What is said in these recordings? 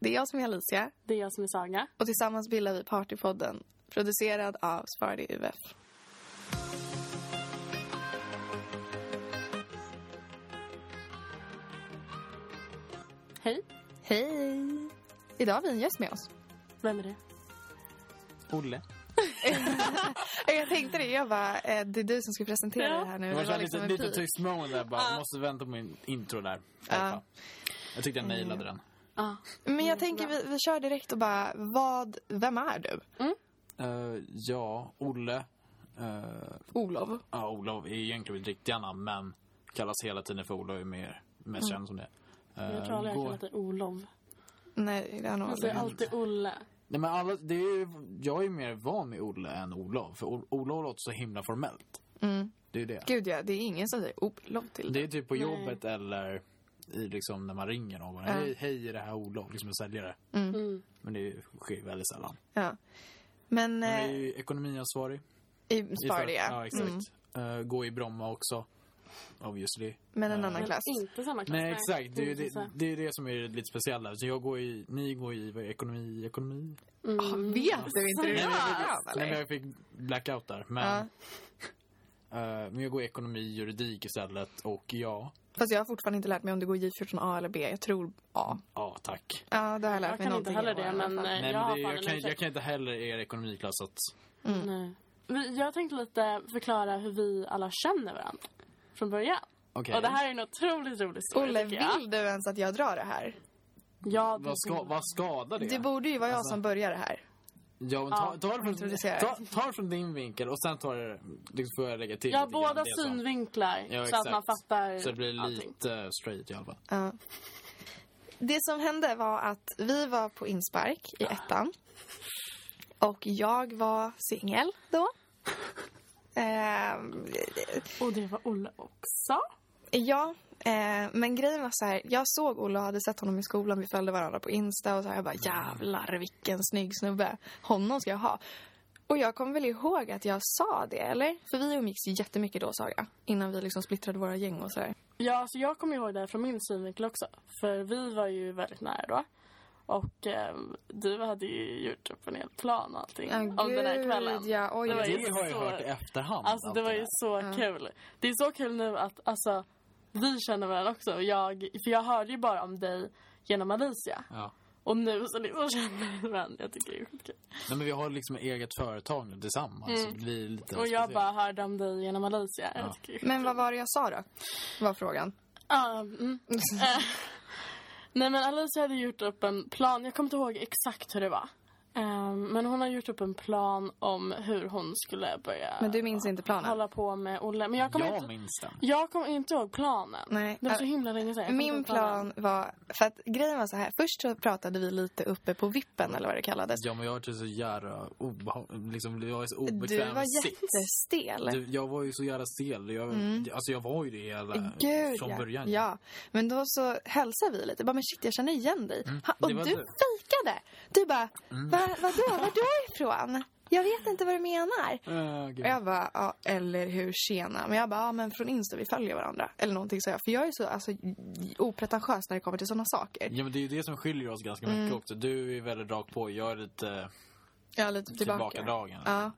Det är jag som är Alicia Det är jag som är Saga. och tillsammans bildar vi Partypodden producerad av Spardy UF. Hej, Hej! Idag har vi en gäst med oss. vem är det? Olle. Jag tänkte det, jag bara, eh, det är du som ska presentera Ja. det här nu. Det var, Det var lite, liksom en lite pik. tystmål där bara. Ja. Måste vänta på min intro där. Ja. Jag tyckte jag nailade den. Ah, Men jag tänker vi, vi kör direkt och bara, vad, vem är du? Eh, ja, Olle. eh, Olof. ja, Olof är egentligen mitt riktiga namn men kallas hela tiden för Olof. Är mer, mest känd som det. Eh, Mm. jag tror aldrig jag går- kallat dig Olov. Nej, det är nog Man säger alltid Olle. Nej, men alla, det är, ju- jag är mer van med Olle än Olof. För O- Olof låter så himla formellt. Mm. Det är det. Gud ja, det är ingen som säger Olof till Det är typ på Nej. jobbet eller i, liksom, när man ringer någon. Hej, hej, är det här Olof? Liksom en säljare. Mm. Men det sker väldigt sällan. Ja. Men Men jag är eh, ju ekonomiansvarig. i I för- Spardy, Ja, ja. Mm. exakt. Eh, gå i Bromma också. Obviously. Men en Ja. annan Men klass. inte samma klass. Nej, exakt. Det är ju Inte det, så. det, är det som är lite speciella. Så jag går i, ni går i vad är ekonomi, ekonomi. Mm. Ah, vet du inte det? Nej, men jag Ja, fick, nej, men jag fick blackout där. Men, Ja. eh, men jag går i ekonomi, juridik istället. Och ja, Fast jag har fortfarande inte lärt mig om det går J14A eller B. Jag tror A. ja tack. Ja, det har jag lärt Jag mig kan inte någonting heller i år i det, alla men fall. eh, Nej, jag har fan men det, jag, en kan, jag ursäkt. kan inte heller er ekonomiklass. Att, Nej. Men Jag tänkte lite förklara hur vi alla känner varandra från början. Okej. Och det här är en otroligt rolig story, Olle, eh, tycker jag. vill du ens att jag drar det här? Ja, det- vad, ska, vad skadar det? Det borde ju vara jag Alltså- som börjar det här. ja, men ta, ta, det från, introducera. ta, ta det från din vinkel och sen tar det, liksom får jag lägga till. Ja, lite grann båda det som- synvinklar. Ja, så att man exakt. fattar Så det blir allting. lite straight i alla fall. Ja. Det som hände var att vi var på inspark i ettan. Och jag var singel då. Ehm, Och det var Olle också. ja, eh, men grejen var så här. Jag såg Olle och hade sett honom i skolan. Vi följde varandra på Insta. Och så här, jag bara jävlar vilken snygg snubbe. Honom ska jag ha. Och jag kommer väl ihåg att jag sa det, eller? För vi umgicks ju jättemycket då, Saga. Innan vi liksom splittrade våra gäng och sådär. Ja, så jag kommer ihåg det här från min synvinkel också. För vi var ju väldigt nära då. Och eh, du hade ju gjort upp en hel plan och allting om den här kvällen. Ja, oj, Det var oj, ju Det har jag så- hört i efterhand. Alltså allt det var ju där. så kul. Det är så kul nu att alltså, vi känner varandra också. Och Jag, för jag hörde ju bara om dig genom Alicia. Ja. Och nu så liksom känner vi varandra. Jag tycker det är skitkul. Nej, men vi har liksom eget företag nu tillsammans. Så det blir lite Mm. Och jag speciellt. bara hörde om dig genom Alicia. Jag Ja. tycker det är skitkul. Men vad var det jag sa då? Var frågan. Ja, Um, mm. Eh, Nej men Alice hade gjort upp en plan. Jag kommer inte ihåg exakt hur det var. Eh, Men hon har gjort upp en plan om hur hon skulle börja Men du minns inte planen? hålla på med Olle. Men jag kommer Jag inte, minns den. jag kommer inte ihåg planen. Nej. Det var så himla länge sedan. Jag kommer Min inte ihåg planen. plan var... För att grejen var så här. Först så pratade vi lite uppe på vippen eller vad det kallades. Ja, men jag har varit så jävla obehaglig. Liksom, jag är så Du obekväm var sits. jättestel. Du, jag var ju så jävla stel. Jag, Mm. Alltså jag var ju det hela Gud, från ja. början. Ja. Men då så hälsade vi lite. Bara, men shit, jag känner igen dig. Ha, och Mm. det du var Mm. du. fejkade. Du bara, va, vadå? Var du ifrån? Jag vet inte vad du menar. Eh, gud. Och jag bara, ja, eller hur, tjena. Men jag bara, ja, men från Insta, vi följer varandra. Eller någonting så jag. För jag är så alltså, opretentiös när det kommer till sådana saker. Ja, men det är ju det som skiljer oss ganska mycket Mm. också. Du är väldigt rakt på. Jag är lite Jag är lite tillbaka. tillbakadragen. Ja.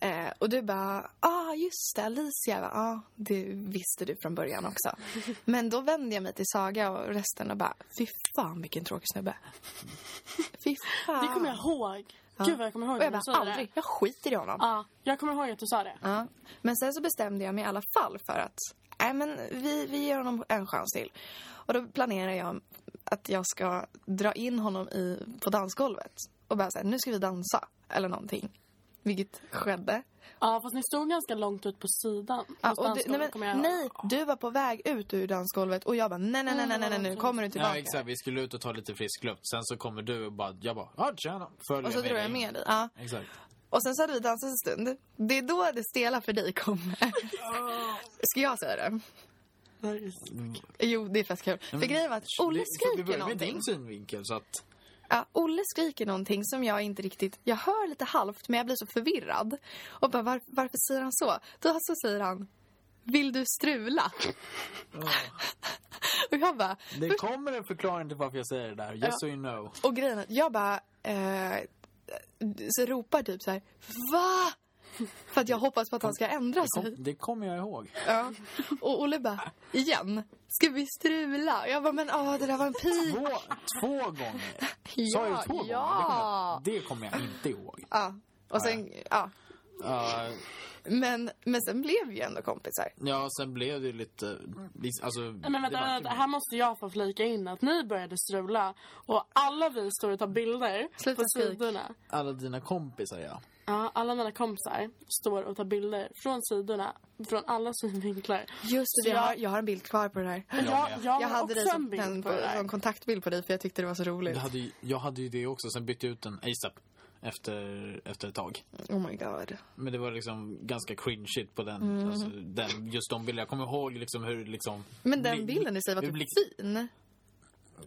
Eh, och du bara, ah just det, Alicia. Ja, ah, det visste du från början också. Men då vände jag mig till Saga och resten och bara, fy fan vilken tråkig snubbe. Fy fan. Det kommer jag ihåg. Gud vad jag kommer ihåg och jag när bara, du sa aldrig, det. jag skiter i honom. Ja, jag kommer ihåg att du sa det. Ja. Men sen så bestämde jag mig i alla fall för att nej men vi, vi ger honom en chans till. Och då planerar jag att jag ska dra in honom i, på dansgolvet och bara säga nu ska vi dansa eller någonting. Vilket skedde. Ja, fast ni stod ganska långt ut på sidan. Ja, På och du, nej, dansgolvet, kommer jag men, ihåg. nej, du var på väg ut ur dansgolvet och jag bara nej, nej, nej, nej, nej, nej Mm, nu kommer du Ja, tillbaka. exakt. Vi skulle ut och ta lite frisk luft. Sen så kommer du och bara, jag bara, ja tjena. Följer och så drog jag dig. med dig. Ja. Exakt. Och sen så hade vi dansat en stund. Det är då det stela för dig kommer. Ska jag säga det? Nej. Jo, det är fett kul. För grejen var att Olle Det- för skriker Det börjar med någonting. din synvinkel. Så att, Ja, Olle skriker någonting som jag inte riktigt... Jag hör lite halvt, men jag blir så förvirrad. Och bara, var, varför säger han så? Då så säger han... Vill du strula? och jag bara... Det kommer en förklaring till varför jag säger det där. Yes Ja. or you know. Och grejen är att jag bara eh, så ropar typ så här, va? För att jag hoppas på att han ska ändra Kom, sig. det kommer jag ihåg. Ja. Och Olle bara, igen, ska vi strula? Och jag bara, men åh, det där var en pik. Två, två gånger. Sa Ja, jag två ja. gånger? Det kommer jag, det kommer jag inte ihåg. Ja. Och sen, ja. Ja, Men, men sen blev vi ju ändå kompisar. ja, sen blev det ju lite... Alltså, Nej, Men vänta, vänta, här måste jag få flika in att ni började strula och alla vi står och tar bilder Sluta på skrik. sidorna. alla dina kompisar, ja. Ja, alla mina kompisar står och tar bilder från sidorna, från alla synvinklar. Just det, Så jag, har- jag- jag har en bild kvar på det här. Jag, jag, med. Jag har hade också dig en som bild en, på det där. en kontaktbild på dig för jag tyckte det var så roligt. Jag hade, ju- jag hade ju det också, sen bytte jag ut en ASAP efter, efter ett tag. Oh my god. Men det var liksom ganska cringeigt på den, Mm. alltså, den just de bilderna. Jag kommer ihåg liksom hur liksom... Men den bli- bilden i sig var hur typ blick- fin.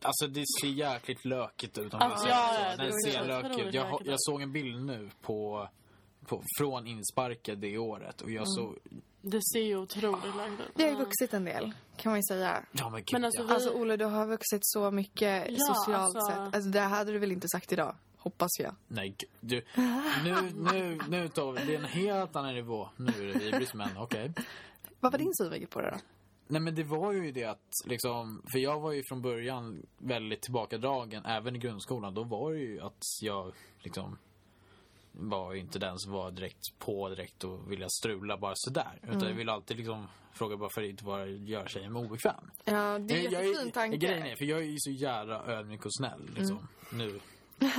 Alltså det ser jäkligt lökigt ut om man Alltså, säger ja, så. ja, det Den var ser otroligt lökig ut. Jag, har- lökigt. jag såg en bild nu på, på, från insparken det året Mm. och jag såg... Det ser ju otroligt långt ut. Det har ju vuxit en del, kan man ju säga. Ja men gud Men alltså, ja. vi- Alltså Olle, du har vuxit så mycket Ja, socialt alltså- sett. Alltså det hade du väl inte sagt idag? Hoppas jag. Nej gud. Du, nu, nu, nu tar vi... Det är en helt annan nivå. Nu är det hybris men okej. Vad var din synvinkel på det då? Nej men det var ju det att liksom, för jag var ju från början väldigt tillbakadragen, även i grundskolan. Då var det ju att jag liksom var ju inte den som var direkt på direkt och ville strula bara sådär. Utan Mm. jag ville alltid liksom fråga varför det inte var göra sig obekväm. Ja, det är Jag- jag en fin tanke. Mm. Grejen är, för jag är ju så jävla ödmjuk och snäll liksom nu. Men,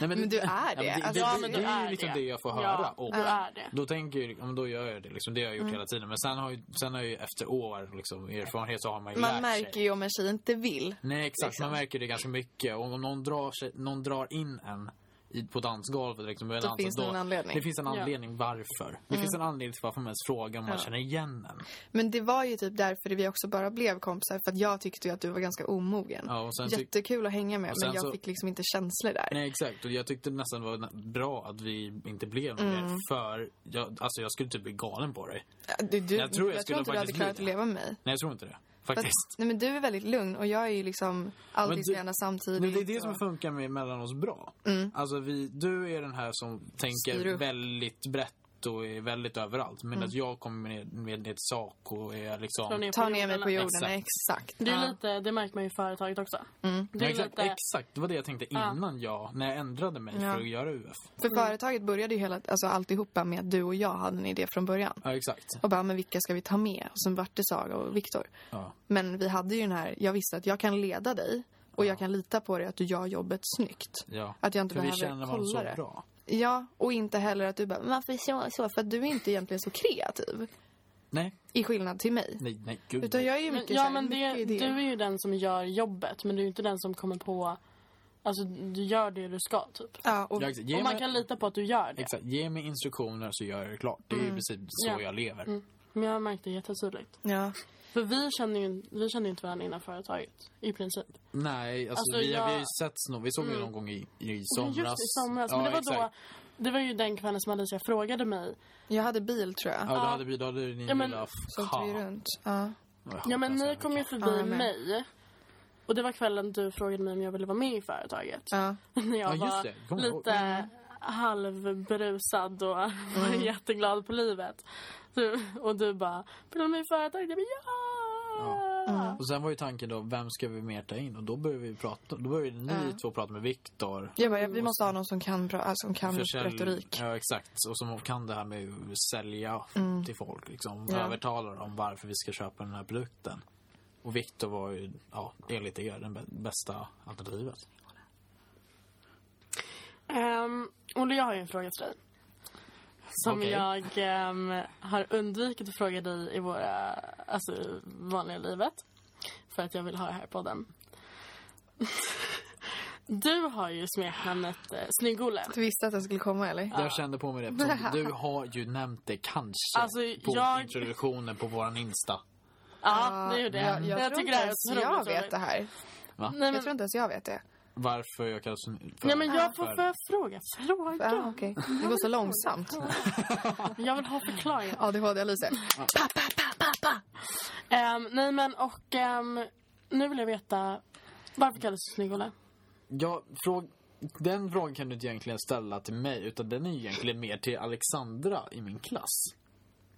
nej, Men du är Ja, det. men det, Alltså, det, ja, det, men det du är är ju liksom det. det jag får Ja, höra. och du är det. Då tänker jag, ju, ja, men då gör jag det. Liksom. Det har jag gjort Mm. hela tiden. Men sen har, ju, sen har jag ju efter år liksom, erfarenhet så har man ju Man lärt märker sig. ju liksom. om en tjej inte vill. Nej, exakt. Man märker det ganska mycket. Och om någon drar, sig, någon drar in en i, på dansgolvet liksom, med en Då dans, finns det en anledning. Mm. Det finns en Ja. anledning varför. Det finns en anledning till varför man ens frågar om man Ja. känner igen en. Men det var ju typ därför vi också bara blev kompisar. För att jag tyckte ju att du var ganska omogen. Ja, och sen tyck- Jättekul att hänga med, och sen men jag så- fick liksom inte känslor där. Nej, exakt. Och jag tyckte nästan det var na- bra att vi inte blev någon Mm. mer. För jag, alltså, jag skulle typ bli galen på dig. Äh, Du, du, Jag tror jag skulle inte du hade faktiskt klarat att bli det. leva med mig. Nej, jag tror inte det. För Faktiskt. att, nej, men du är väldigt lugn och jag är ju liksom Men alltid så du- gärna samtidigt. Men det är det och- som funkar med mellan oss bra. Alltså vi, du är den här som Styr tänker upp. väldigt brett och är väldigt överallt. Medan jag kommer med, med det sak och är liksom... Slå ner Ta ner mig på jorden. jorden, exakt. Det, Ja. är Mm. lite, det märker man ju i företaget också. Det Ja, är exakt, lite... exakt, det var det jag tänkte innan jag, när jag ändrade mig Ja. för att göra UF. För företaget började ju hela, alltså alltihopa med att du och jag hade en idé från början. Ja, exakt. Och bara, men vilka ska vi ta med? Och sen vart det Saga och Viktor. Ja. Men vi hade ju den här, jag visste att jag kan leda dig och jag kan lita på dig att du gör jobbet snyggt. Ja. Att jag inte För vi behöver känner varandra kolla så det. bra. Ja, och inte heller att du bara, men varför så, så? För att du är inte egentligen så kreativ. Nej, I skillnad till mig. nej, nej, gud. Utan nej. jag är ju Men, mycket, så ja, här, men det, mycket idéer. du är ju den som gör jobbet, men du är ju inte den som kommer på... Alltså, du gör det du ska, typ. Ja, och Ja, exakt. Ge och man mig- kan lita på att du gör det. Exakt. Ge mig instruktioner så gör jag det klart. Det är ju precis så Ja. jag lever. Men jag har märkt det jättetydligt. Ja. För vi kände ju, vi kände ju inte varandra innan företaget, i princip. Nej, alltså, Alltså, vi, har- vi har ju jag- sett någon, vi såg ju någon gång i, i somras. Just i somras. men det var då... Det var ju den kvällen som Alicia frågade mig. Jag hade bil tror jag. Ja, då hade vi, då hade ni Ja, men- lilla... Så åkte vi runt. Ja. Ja, men ni kom ju Ja, förbi jag med. mig. Och det var kvällen du frågade mig om jag ville vara med i företaget. Ja. När jag Ja, just det. var Kommer jag ihåg. lite halvberusad och var jätteglad på livet. Du, och du bara, vill du vara med i företaget? Jag bara, ja! Och sen var ju tanken då, vem ska vi mer ta in? Och då började vi prata, då började ni två prata med Viktor. Jag bara, vi måste ha någon som kan, bra, alltså, som kan Försälj- retorik. Ja, exakt. Och som kan det här med att sälja Mm. till folk. Liksom, Ja. Övertala dem varför vi ska köpa den här produkten. Och Viktor var ju, ja, enligt er, den bä- bästa alternativet. Mm. Ehm, Olle, jag har ju en fråga till dig. Som Okej. jag ehm, har undvikit att fråga dig i våra, alltså i vanliga livet. För att jag vill ha det här i podden. du har ju smeknamnet eh, Snygg-Olle. Du visste att den skulle komma eller? Jag kände på mig det. eftersom Du har ju nämnt det kanske Alltså, på jag- introduktionen på våran Insta. Ja, det gjorde jag. Jag, jag, tror tycker inte det här är ens otroligt jag vet roligt. det här. Nej, men, Jag tror inte ens jag vet det. varför jag kallas för... Nej, men jag får, för- får jag fråga? Fråga? Ja, okej. Det går så långsamt. Jag vill ha förklaring. ADHD, Alice. Ehm, nej, men och ehm, nu vill jag veta varför kallas du snygg, Olle? Ja, fråg... Den frågan kan du inte egentligen ställa till mig utan den är ju egentligen mer till Alexandra i min klass.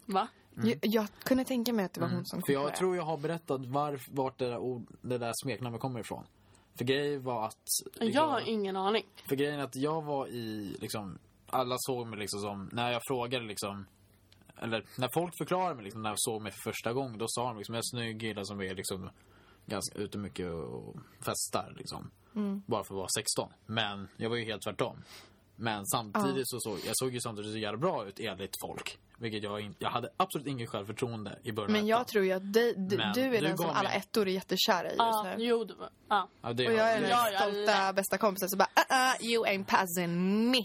Va? Jag, jag kunde tänka mig att det var hon som För kom på jag det. tror jag har berättat var, vart det där, ord, det där smeknamnet kommer ifrån. För grejen var att... Jag har ingen aning. För grejen är att jag var i, liksom, alla såg mig liksom som, när jag frågade liksom, eller när folk förklarade mig liksom, när jag såg mig för första gången, då sa de liksom, jag är en snygg kille som är liksom ganska ute mycket och festar liksom. Mm. Bara för att vara 16. Men jag var ju helt tvärtom. Men samtidigt så såg jag såg ju samtidigt så jävla bra ut enligt folk. Vilket jag, in, jag hade absolut inget självförtroende i början av Men jag ettan. tror ju att dig- du, Men du är du den som gav alla mig- ettor är jättekära i just Ja, nu. jo, det var... Ja. Ja, det Och jag är det- den Ja, ja, stolta bästa kompisen som bara uh -uh, you ain't passing me.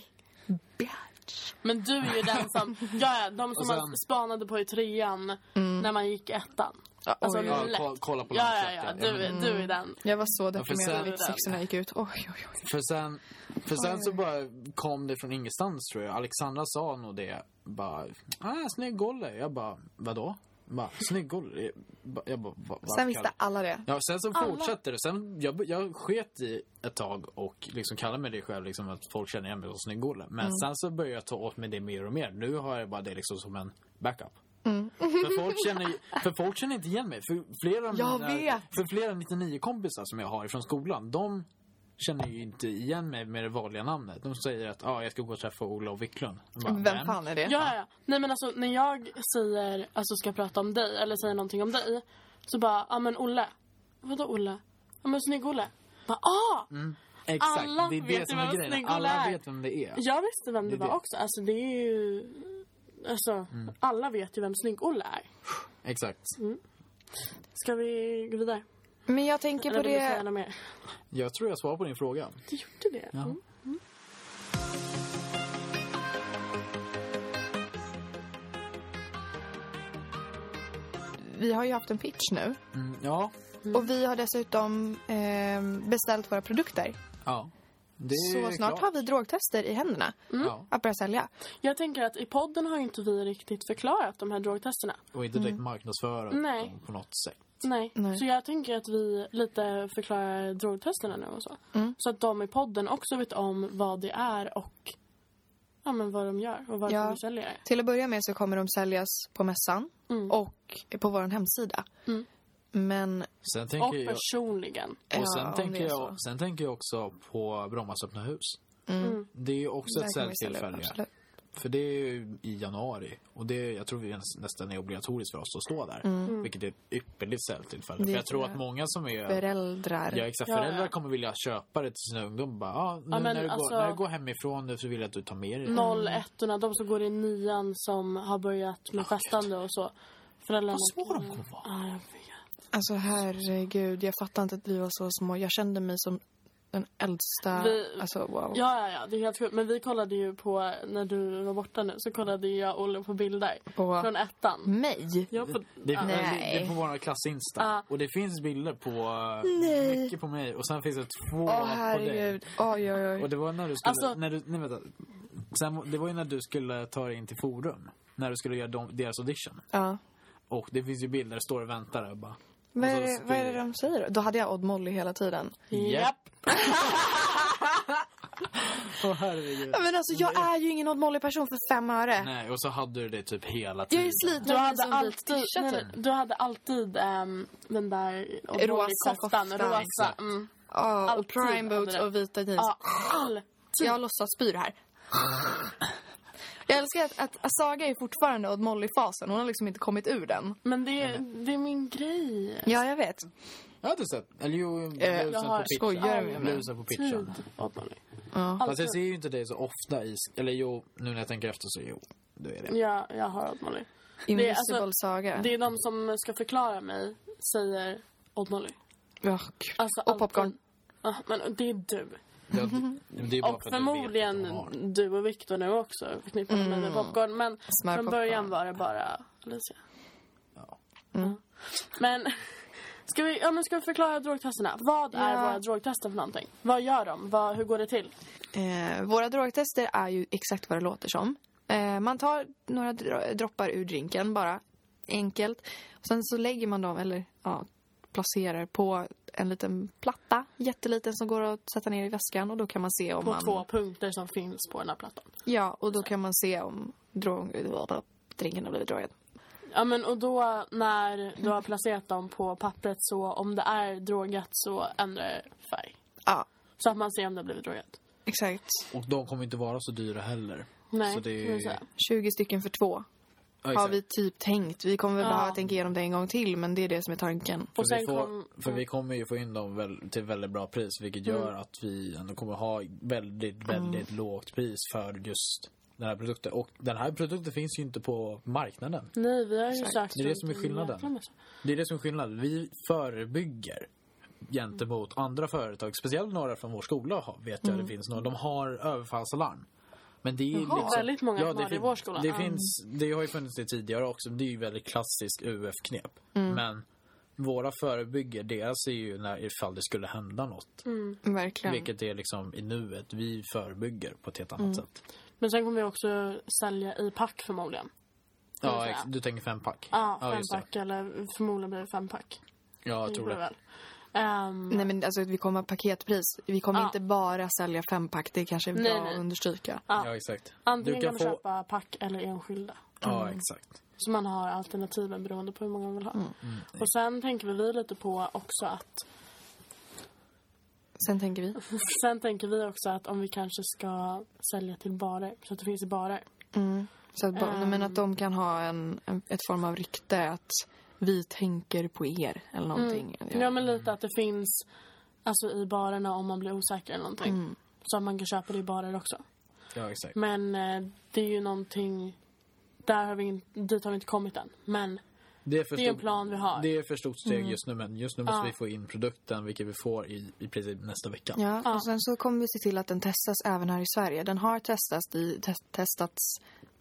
Bitch. Men du är ju den som... Ja, ja, de som Och sen- man spanade på i trean Mm. när man gick i ettan. Ja, Alltså, oj, Ja, oj. lätt. ko- kolla på Ja, ja, landskapet, ja. ja. Du, Ja, är- du är den. Jag var så för sen- deprimerad när sexorna gick ut. Oj, oj, oj. För sen, för sen så bara kom det från ingenstans tror jag. Alexandra sa nog det. Bara, ah, snygg Olle. Jag bara, vadå? Bara, snygg Olle. Jag bara, jag bara, "Va- varför Sen visste kallar-" alla det. Ja, sen så alla. fortsatte det. Sen, jag, jag sket i ett tag och liksom kallade mig det själv, liksom, att folk känner igen mig som snygg Olle. Men Mm. sen så började jag ta åt mig det mer och mer. Nu har jag bara det liksom som en backup. Mm. för, folk känner, för folk känner inte igen mig. För flera, av Jag vet. för flera 99-kompisar som jag har från skolan, de känner ju inte igen mig med det vanliga namnet. De säger att ah, jag ska gå och träffa Ola och Wiklund. Jag bara, Vem "Men?" fan är det? Ja, ja, ja. Nej, men alltså när jag säger, alltså ska prata om dig eller säger någonting om dig så bara, ja men Olle. Vadå Olle? Ja men snygg-Olle. Bara, ah! Exakt, Alla det är vet ju det som vem är grejen. Snygg Alla Olle är. vet vem det är. Jag visste vem det, Det är var det. också. Alltså det är ju... Alltså, Mm. alla vet ju vem snygg-Olle är. Exakt. Ska vi gå vidare? Men jag tänker på Eller vill du säga det... något mer? Jag tror jag svarar på din fråga. Du gjorde det? Ja. Mm. Vi har ju haft en pitch nu. Mm, ja. Och vi har dessutom ehm, beställt våra produkter. ja. Det är Så snart klart. har Mm. vi drogtester i händerna Mm. Ja. att börja sälja. Jag tänker att i podden har ju inte vi riktigt förklarat de här drogtesterna. Och inte direkt marknadsföra Nej. dem på något sätt. Nej. Nej. Så jag tänker att vi lite förklarar drogtesterna nu och så. Mm. Så att de i podden också vet om vad det är och ja, men vad de gör och varför Ja. de säljer det. Till att börja med så kommer de säljas på mässan Mm. och på vår hemsida. Mm. Men Sen tänker Och jag, personligen. Ja, och sen, om det tänker är jag, sen tänker jag också på Brommas öppna hus. Mm. Det är ju också där ett kan vi sälja upp, säljtillfälle. absolut. För det är ju i januari. Och det, jag tror det ens- nästan är obligatoriskt för oss att stå där. Vilket är ett ypperligt säljtillfälle. Mm. Det För jag tror tror att jag. många som är... Föräldrar. Ja, exakt. Ja, Föräldrar ja. kommer vilja köpa det till sina ungdomar. Bara, ah, nu Ja, men när, du alltså- går, när du går hemifrån nu så vill jag att du tar med dig det. 01orna, de som går i nian som har börjat med festande och så. Föräldrarna. Vad små de kommer vara. Ja, jag vet. Alltså herregud, jag fattar inte att vi var så små. Jag kände mig som den äldsta. Vi- Alltså wow. Ja, ja, ja, det är helt sjukt. Men vi kollade ju på, när du var borta nu, så kollade jag och Olle på bilder. På- Från ettan. Mig? Jag på, Det, ja. Nej. det, det är på vår klassinsta. Ja. Och det finns bilder på... eh, Mycket på mig. Och sen finns det två Åh på dig. herregud. Oj, oj, Och oj. det var när du skulle... Alltså- När du, nej, vänta. Sen, det var ju när du skulle ta dig in till Forum. När du skulle göra de, deras audition. Ja. Och det finns ju bilder, står och väntar där och bara... Vad och är, Alltså, så det, spyr- vad är det de säger? då? Då hade jag Odd Molly hela tiden. Japp. Åh herregud. Ja, Men alltså jag är ju ingen Odd Molly-person för fem öre. Nej, och så hade du det typ hela Jag är tiden. ju sliten. Du av en hade, sån vit alltid, t-shirt nej, typ. nej, du hade alltid ehm, den där Rosa koftan. koftan, Rosa. exakt. Mm. Ja, och alltid prime hade boots det. och vita jeans. Ja, all. Jag låtsas spyr här. Jag älskar att, att, att Saga är fortfarande Odd Molly-fasen. Hon har liksom inte kommit ur den. Men det, är- det är min grej. Ja, jag vet. Jag har inte sett. Eller jo, Eh, jag blusen har- på skojar med pitchen. mig. Typ. Blusen på pitchen. Tid åt Molly. Ja. Fast jag Alltså- ser ju inte dig så ofta i... Eller jo, nu när jag tänker efter så jo. Du är det. Ja, jag har åt Molly. Invisible alltså- Saga. Det är de som ska förklara mig säger åt Molly. Ja, gud. Alltså, Och popcorn. alltid. Ja, men det är du. Ja, det, det är bara Och för att du vet att förmodligen de har. du och Viktor nu också förknippar mig Mm. med popcorn. Men Smör från popcorn. början Mm. var det bara Alicia. Ja. Men Ska vi, ja, men ska vi förklara drogtesterna? Vad är Ja. våra drogtester för någonting? Vad gör de? Vad, hur går det till? Eh, våra drogtester är ju exakt vad det låter som. Eh, man tar några dro- droppar ur drinken bara, enkelt. Och sen så lägger man dem, eller ja, placerar på en liten platta, jätteliten, som går att sätta ner i väskan. Och då kan man se om På man... två punkter som finns på den här plattan. Ja, och då kan man se om drog, drinken har blivit drogad. Ja, men och då när du har placerat dem på pappret så om det är drogat så ändrar det färg. Ja, Så att man ser om det har blivit drogat. exakt. Och de kommer inte vara så dyra heller. Nej, så det kan är man ju... säga. 20 stycken för två Ja, har exakt. vi typ tänkt. Vi kommer väl Ja. behöva tänka igenom det en gång till, men det är det som är tanken. Och För, vi sen får, kom- Mm. för vi kommer ju få in dem väl, till väldigt bra pris vilket gör att vi ändå kommer ha väldigt, väldigt lågt pris för just den här produkten. Och den här produkten finns ju inte på marknaden. Nej, vi har ju Exakt. sökt Det är det runt som är en skillnaden. jäkla massa. Det är det som är skillnaden. Vi förebygger gentemot andra företag. Speciellt några från vår skola har- vet jag det finns några. De har överfallsalarm. Men det är Mm. Jaha. Väldigt många som har det i fin- vår skola. Det, Mm. finns, det har ju funnits det tidigare också. Det är ju väldigt klassiskt UF-knep. Mm. Men våra förebygger, deras är ju när, ifall det skulle hända något. Mm. Verkligen. Vilket är liksom i nuet. Vi förebygger på ett helt Mm. annat sätt. Men sen kommer vi också sälja i pack förmodligen. Kan man Ja, säga. ex- du tänker fempack? Ja, just det. fempack eller förmodligen blir det fempack. Ja, jag tror blir det. väl. Ehm, Nej men alltså vi kommer ha paketpris. Vi kommer Ja. inte bara sälja fempack. Det kanske är bra Nej, nej. att understryka. Ja. Ja, exakt. Antingen du kan kan man få... köpa pack eller Mm. enskilda. Ja, exakt. Så man har alternativen beroende på hur många man vill ha. Mm. Och sen tänker väl vi lite på också att Sen tänker vi. Sen tänker vi också att om vi kanske ska sälja till barer, så att det finns i barer. Så att, Ehm. ba- nej, men att de kan ha en, en, ett form av rykte att vi tänker på er eller någonting. Ja, men lite att det finns alltså, i barerna om man blir osäker eller någonting. Mm. Så att man kan köpa det i barer också. Ja, exakt. Men eh, det är ju någonting, där har vi in, dit har vi inte kommit än. Men Det är, för det är en stort- plan vi har. Det är för stort steg just nu, men just nu måste Ja. vi få in produkten, vilket vi får i, i princip nästa vecka. Ja, och sen så kommer vi se till att den testas även här i Sverige. Den har testats i, tes- testats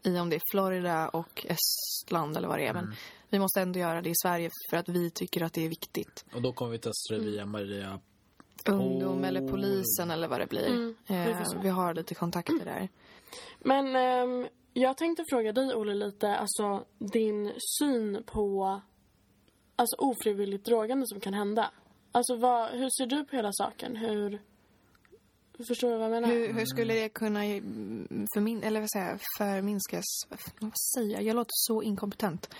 i om det är Florida och Estland eller vad det är. Men vi måste ändå göra det i Sverige för att vi tycker att det är viktigt. Och då kommer vi testa det via Mm. Maria. Ungdom Oh. eller polisen eller vad det blir. vi får se. Eh, vi har lite kontakter där. Men ehm, jag tänkte fråga dig, Olle, lite alltså, din syn på alltså, ofrivilligt drogande som kan hända. Alltså, vad, hur ser du på hela saken? Hur... Förstår du vad jag menar? Hur, hur skulle det kunna eh, förmin- eller vad säger, jag, förminskas? Vad säger jag? Jag låter så inkompetent.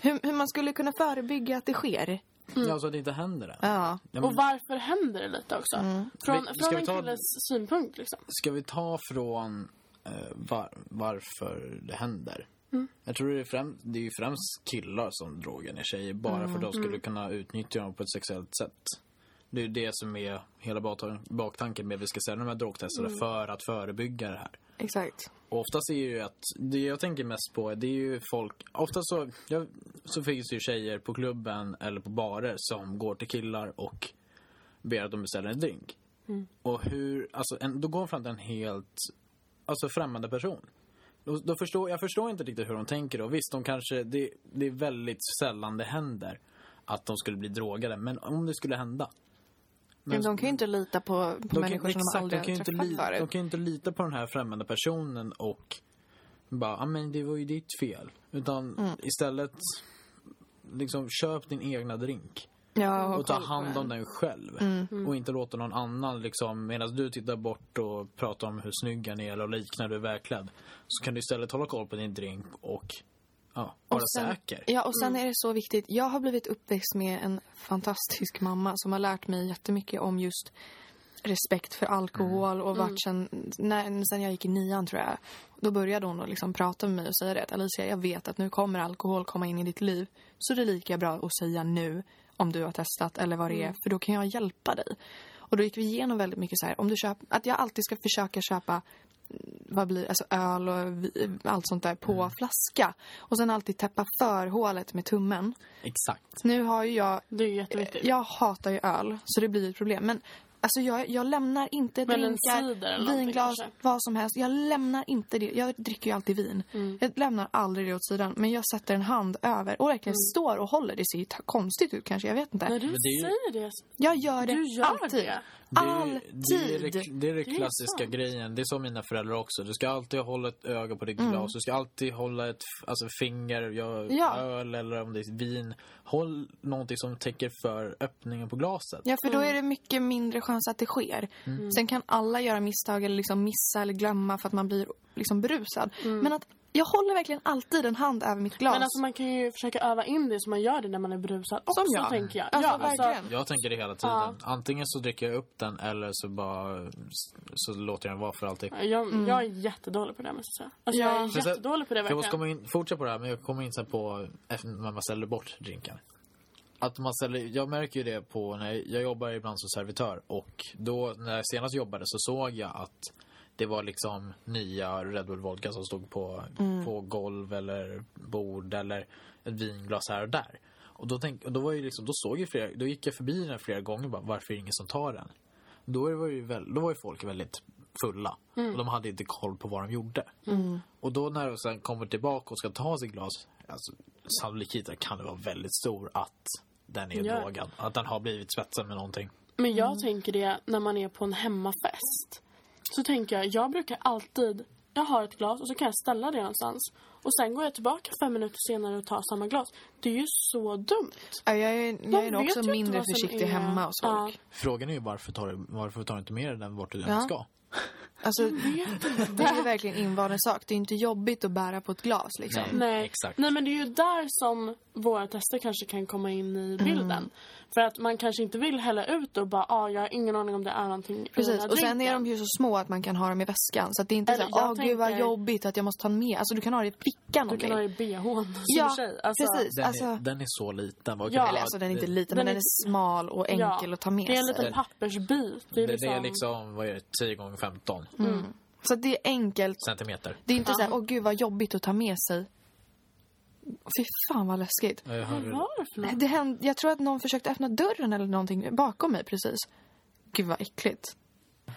Hur, hur man skulle kunna förebygga att det sker? Ja, så att det inte händer än. Ja. Ja, Mm. Och men varför händer det lite också? Från, Ska Mm. vi- ska från vi en ta- killes synpunkt, liksom. ska vi ta från eh, var, varför det händer? Mm. Jag tror det är, främ, det är ju främst killar som drogen är tjejer, bara för att Mm. de skulle kunna utnyttja dem på ett sexuellt sätt. Det är ju det som är hela baktan- baktanken med att vi ska sälja de här drogtesterna Mm. för att förebygga det här. Exakt. Och oftast är ju att, det jag tänker mest på det är ju folk, oftast så, ja, så finns det ju tjejer på klubben eller på barer som går till killar och ber att de beställer en drink. Och hur, alltså en, då går de fram till en helt, alltså främmande person. Då, då förstår, jag förstår inte riktigt hur de tänker då. Visst, de kanske, det, det är väldigt sällan det händer att de skulle bli drogade. Men om det skulle hända. Men de kan ju inte lita på, på De kan- människor som de exakt, aldrig de kan har ju inte träffat lita- De förut. kan ju inte lita på den här främmande personen och bara, ja men det var ju ditt fel. Utan Mm. istället, liksom köp din egna drink. Ja, ha Och ta koll på hand den. Mm. om den själv. Och inte låta någon annan, liksom, medan du tittar bort och pratar om hur snygg han är eller liknar du är välklädd. Så kan du istället hålla koll på din drink och ja, vara sen- säker. Ja, och sen är det så viktigt. Jag har blivit uppväxt med en fantastisk mamma som har lärt mig jättemycket om just respekt för alkohol och vart sen, när, sen jag gick i nian tror jag. Då började hon att liksom prata med mig och säga det att Alicia, jag vet att nu kommer alkohol komma in i ditt liv. Så det är lika bra att säga nu om du har testat eller vad det är, för då kan jag hjälpa dig. Och då gick vi igenom väldigt mycket så här, om du köp, att jag alltid ska försöka köpa vad blir, alltså öl och vi- allt sånt där på Mm. flaska. Och sen alltid täppa för hålet med tummen. Exakt. Nu har ju jag... Eh, Det är ju jätteviktigt. Jag hatar ju öl, så det blir ett problem. Men Alltså jag, jag lämnar inte Men en cider eller drinkar, någonting vinglas, kanske? vad som helst. Jag lämnar inte det. Jag dricker ju alltid vin. Mm. Jag lämnar aldrig det åt sidan. Men jag sätter en hand över och verkligen Mm. står och håller. Det ser ju ta- konstigt ut kanske, jag vet inte. När du Men det är ju- säger det... Jag gör det Du gör alltid. det. Det är, ju- Alltid. det, är, det, det är det ju klassiska sant. grejen. Det är som mina föräldrar också. Du ska alltid hålla ett öga på ditt glas. Du ska alltid hålla ett f- alltså, finger, ja, Ja. öl eller om det är vin. Håll någonting som täcker för öppningen på glaset. Ja, för då Mm. är det mycket mindre chans att det sker. Sen kan alla göra misstag eller liksom missa eller glömma för att man blir liksom berusad. Men att jag håller verkligen alltid en hand över mitt glas. Mm. Men alltså man kan ju försöka öva in det så man gör det när man är berusad också, jag. tänker jag. Alltså, verkligen. Jag tänker det hela tiden. Ja. Antingen så dricker jag upp den eller så bara så låter jag den vara för alltid. Jag, jag är jättedålig på det, måste jag säga. Alltså, Mm. Ja. Jag Men är jättedålig på det, Jag måste verkligen. komma in, fortsätta på det här, men jag kommer in sen på efter när man säljer bort drinken. Att man säljer, jag märker ju det på när jag, jag jobbar ibland som servitör och då när jag senast jobbade så såg jag att det var liksom nya Red Bull Vodka som stod på, Mm. på golv eller bord eller ett vinglas här och där. Och då, tänk, och då, var ju liksom, då, såg jag flera, då gick jag förbi den flera gånger bara, varför är det ingen som tar den? Då var ju, väl, då var ju folk väldigt fulla Mm. och de hade inte koll på vad de gjorde. Och då när de sen kommer tillbaka och ska ta sitt glas, alltså, sannolikheten kan det vara väldigt stor att den är Ja. drogad. Att den har blivit svetsad med någonting. Men jag Mm. tänker det när man är på en hemmafest. Så tänker jag, jag brukar alltid... Jag har ett glas och så kan jag ställa det någonstans. Och sen går jag tillbaka fem minuter senare och tar samma glas. Det är ju så dumt. Ja, jag är, jag Man är vet nog också ju inte mindre vad som försiktig är- hemma hos folk. Frågan är ju varför tar, du- varför tar du inte med dig den vart du Ja. än ska? Alltså, det är ju verkligen invand sak. Det är inte jobbigt att bära på ett glas. Liksom. Nej. Nej. Exakt. Nej, men det är ju där som våra tester kanske kan komma in Mm. i bilden. För att man kanske inte vill hälla ut och bara, ah, jag har ingen aning om det är någonting i den Precis. här Och sen är drinken." de ju så små att man kan ha dem i väskan. Så att det är inte så Eller här, jag åh gud vad tänker- jobbigt att jag måste ta med. Alltså du kan ha det i fickan om Du kan ha det i bhn som Ja, tjej. Alltså, precis. Den, Alltså- är, den är så liten. Vad Ja. det Eller vara? alltså den är inte Det- liten, den men är- den är smal och enkel ja. att ta med Det är en sig. liten pappersbit. Det är Det, liksom... det är liksom, vad är det, 10 gånger 15 Mm. Så att det är enkelt. centimeter. Det är inte så här, åh gud vad jobbigt att ta med sig. Fy fan vad läskigt. Ja, Jag Vad hörde det. var det för något? Det hände, jag tror att någon försökte öppna dörren eller någonting bakom mig precis. Gud vad äckligt.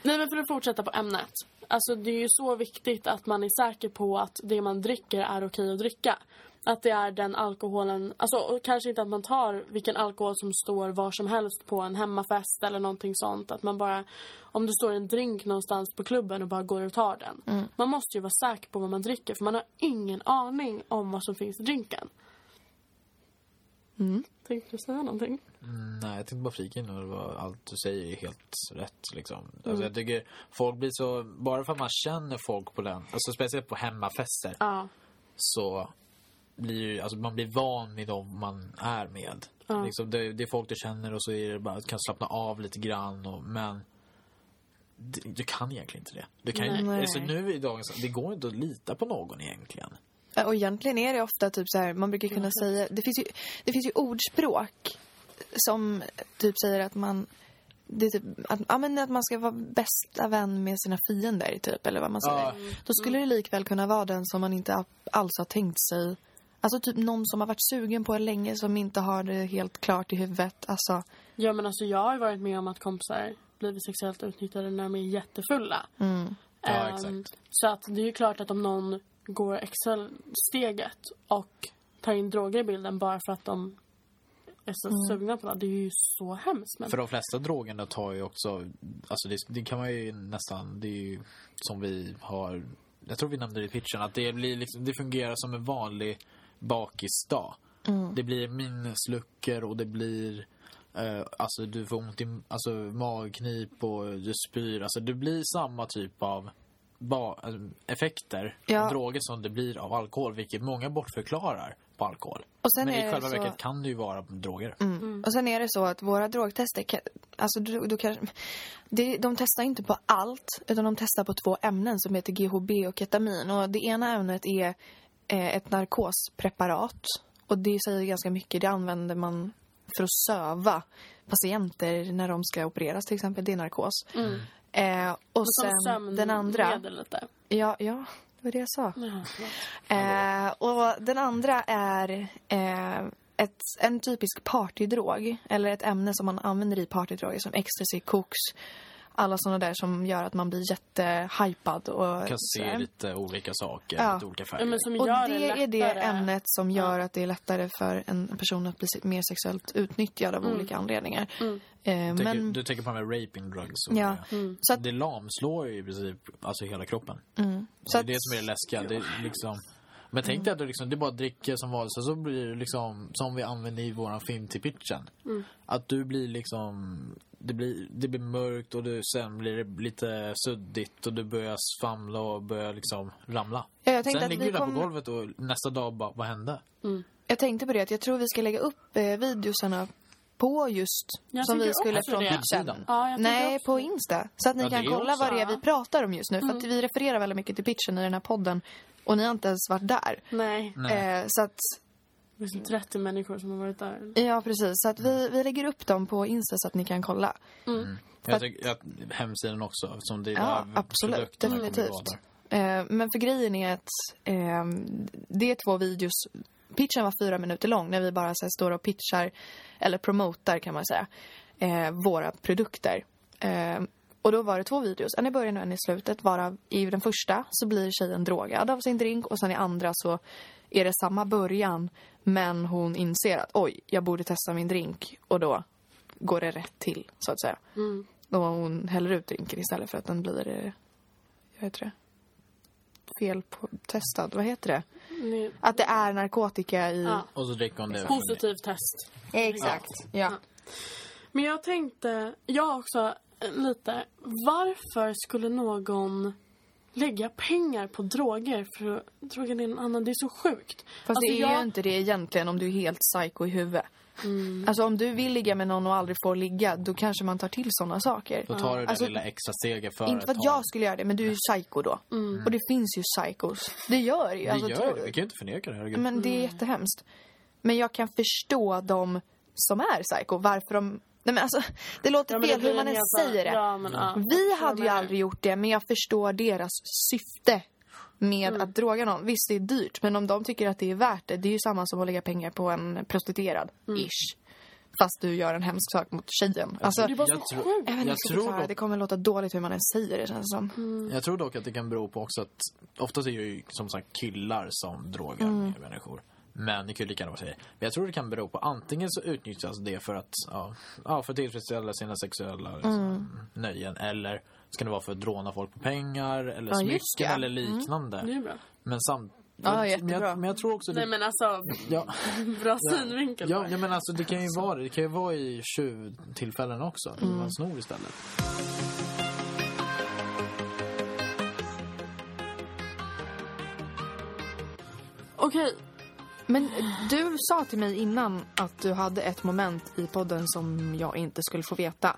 Nej, men för att fortsätta på ämnet. Alltså, det är ju så viktigt att man är säker på att det man dricker är okej att dricka. Att det är den alkoholen... Alltså, och kanske inte att man tar vilken alkohol som står var som helst på en hemmafest eller någonting sånt. Att man bara... Om det står en drink någonstans på klubben och bara går och tar den. Man måste ju vara säker på vad man dricker för man har ingen aning om vad som finns i drinken. Tänkte du säga någonting? Nej, jag tänkte bara flika in och det var allt du säger är helt rätt. Liksom. Mm. Alltså, jag tycker folk blir så... Bara för att man känner folk på den, alltså speciellt på hemmafester, Ja. så blir ju- alltså, man blir van vid dem man är med. Liksom, det, det är folk du känner och så är det bara, kan slappna av lite grann. Och, men d- du kan egentligen inte det. Du kan ju, Nej. alltså, nu i dagens... Det går inte att lita på någon egentligen. Ja, Eh, Och egentligen är det ofta typ så här, man brukar kunna säga, det finns ju, det finns ju ordspråk som typ säger att man, det är typ, att, ja, men att man ska vara bästa vän med sina fiender typ, eller vad man säger. Ja. Då skulle det likväl kunna vara den som man inte alls har tänkt sig. Alltså typ någon som har varit sugen på en länge som inte har det helt klart i huvudet. Alltså, Ja men alltså jag har ju varit med om att kompisar blivit sexuellt utnyttjade när de är jättefulla. Mm. Ja, Ehm, exakt. Så att det är ju klart att om någon går Excel-steget och tar in droger i bilden bara för att de är så Mm. sugna på det. Det är ju så hemskt. Men... För de flesta drogerna tar ju också, alltså det, det kan man ju nästan, det är ju som vi har, jag tror vi nämnde det i pitchen, att det, blir liksom, det fungerar som en vanlig bakisdag. Mm. Det blir minnesluckor och det blir, eh, alltså du får ont i alltså, magknip och du spyr. Alltså det blir samma typ av ba, eh, effekter, Ja. droger som det blir av alkohol, vilket många bortförklarar på alkohol. Och sen Men är i det själva så- Mm. verket kan det ju vara droger. Och sen är det så att våra drogtester, kan- alltså du, du kan, det, de testar inte på allt utan de testar på två ämnen som heter GHB och ketamin. Och det ena ämnet är eh, ett narkospreparat och det säger ganska mycket. Det använder man för att söva patienter när de ska opereras till exempel. Det är narkos. Eh, och sen den andra. sömnmedel Lite. Ja, ja, det var det jag sa. Ja, förlåt. Eh, och den andra är eh, ett, en typisk partydrog eller ett ämne som man använder i partydroger som ecstasy, koks, alla såna där som gör att man blir jättehypad och kan sådär. se lite olika saker, Ja. lite olika Ja, färger. men som Och gör det är det lättare. ämnet som gör att det är lättare för en person att bli mer sexuellt utnyttjad Mm. av olika anledningar. Eh, Du tänker- men, Du tänker på de här raping drugs. Och ja. det. Mm. Så att, det lamslår ju i princip alltså hela kroppen. mm. så det är att, Mm. det som är det läskiga. Det är liksom... Men tänk dig att du liksom, det är bara dricker som vanligt. Sen så blir det liksom, som vi använder i våran film till pitchen. Mm. Att du blir liksom... Det blir, det blir mörkt och du, sen blir det lite suddigt och du börjar svamla och börjar liksom ramla. ja, eh, jag tänkte Sen att ligger vi du där på kom, golvet och nästa dag bara, vad hände? Mm. jag tänkte på det att jag tror vi ska lägga upp eh, videosarna på just Jag som vi tänker skulle också från det. pitchen. Ja, jag Nej, tänker också på Insta. Så att ni Ja, kan det kolla också, vad det är ja. vi pratar om just nu. För Mm. att vi refererar väldigt mycket till pitchen i den här podden. Och ni har inte ens varit där. Nej, Nej. Eh, så att, det är som 30 människor som har varit där. ja precis. Så att vi, vi lägger upp dem på Insta så att ni kan kolla. Mm. Jag tycker att hemsidan också, som det är Ja, där absolut. produkterna kommer Definitivt. vara där. Eh, men för grejen är att eh, det är två videos. Pitchen var fyra minuter lång när vi bara så här, står och pitchar, eller promotar kan man säga, eh, våra produkter. Eh, och då var det två videos, en i början och en i slutet. Varav i den första så blir tjejen drogad av sin drink och sen i andra så är det samma början men hon inser att oj, jag borde testa min drink och då går det rätt till så att säga. Mm. Då hon häller ut drinken istället för att den blir, eh, jag heter det? feltestad. Vad heter det? Det är Att det är narkotika i... Ja. Och så dricker hon det. Positiv test. Exakt. Ja. Men jag tänkte, jag också eh, lite. Varför skulle någon lägga pengar på droger för att droga ner en annan? Det är så sjukt. Fast det är Alltså jag, ju inte det egentligen om du är helt psycho i huvudet. Alltså om du vill ligga med någon och aldrig får ligga, då kanske man tar till sådana saker. Då tar du det Alltså, lilla extra steget för Inte för att ta- jag skulle göra det, men du är ju psycho då. Och det finns ju psychos. Det gör ju. Vi alltså, gör tro- det, vi kan ju inte förneka det. Herregud. Men det Mm. är jättehemskt. Men jag kan förstå de som är psycho, varför de... Nej men alltså, det låter Ja, men det fel blir hur man en än jävla- säger det. Ja, men, ja. Vi Jag hade ju menar. aldrig gjort det, men jag förstår deras syfte med Mm. att droga någon. Visst, det är dyrt, men om de tycker att det är värt det, det är ju samma som att lägga pengar på en prostituerad, Mm. ish. Fast du gör en hemsk sak mot tjejen. Alltså, Det var så Jag tror- sjukt. jag, vet inte jag hur jag tror tror dock- det kommer låta dåligt hur man än säger det, känns det som. Jag tror dock att det kan bero på också att oftast är det ju som sagt killar som drogar Mm. ner människor. Men det kan ju lika gärna vara tjejer. Men jag tror det kan bero på antingen så utnyttjas det för att ja, ja, för att tillfredsställa sina sexuella liksom, Mm. nöjen eller så kan det vara för att råna folk på pengar eller Ja, smycken just det. eller liknande. Det är bra. Men samt... Ja, men, jättebra. jag, men jag tror också... Nej Det, men alltså, ja, bra synvinkel. ja, ja, men alltså det kan ju vara det. Det kan ju vara i tjuvtillfällen också. Mm. Man snor istället. Okej, Men du sa till mig innan att du hade ett moment i podden som jag inte skulle få veta.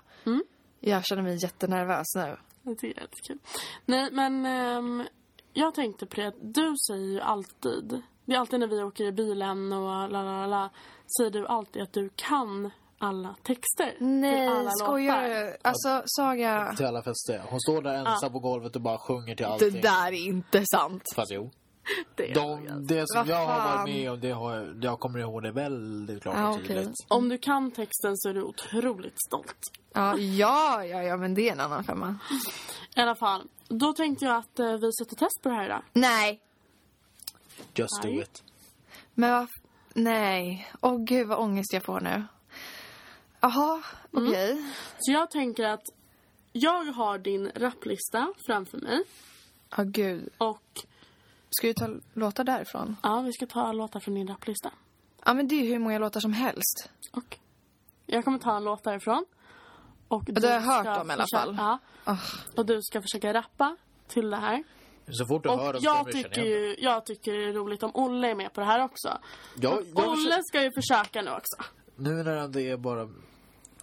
Jag känner mig jättenervös nu. det tycker jag är lite kul. Nej men, ehm, jag tänkte på det att du säger ju alltid, det är alltid när vi åker i bilen och la la la, la säger du alltid att du kan alla texter. till alla låtar. du? Alltså, Saga... Till alla fester. Hon står där ensam på golvet och bara sjunger till Det allting. där är inte sant. Fast jo. Det är De, det alltså. Vad som jag har fan. varit med om, det har jag, jag kommer ihåg det väldigt klart och Ja, okej. tydligt. Om du kan texten så är du otroligt stolt. Ja, ja, ja, ja, men det är en annan femma. I alla fall, då tänkte jag att eh, vi sätter test på det här idag. Nej. Just do Nej. it. Men vad... f- Nej. Åh gud vad ångest jag får nu. Jaha, okej. Så jag tänker att jag har din rapplista framför mig Ja gud. och Ska vi ta låtar därifrån? ja, vi ska ta låtar från din rapplista. Ja men det är ju hur många låtar som helst. Och jag kommer ta en låt därifrån. Och du det har jag hört ska om i alla försöka- fall. Ja, Ah, och du ska försöka rappa till det här. Så fort du hör Och dem så jag kommer du tycker, känna igen ju, jag tycker det är roligt om Olle är med på det här också. jag, jag Olle ska ju försöka nu också. Nu när det är bara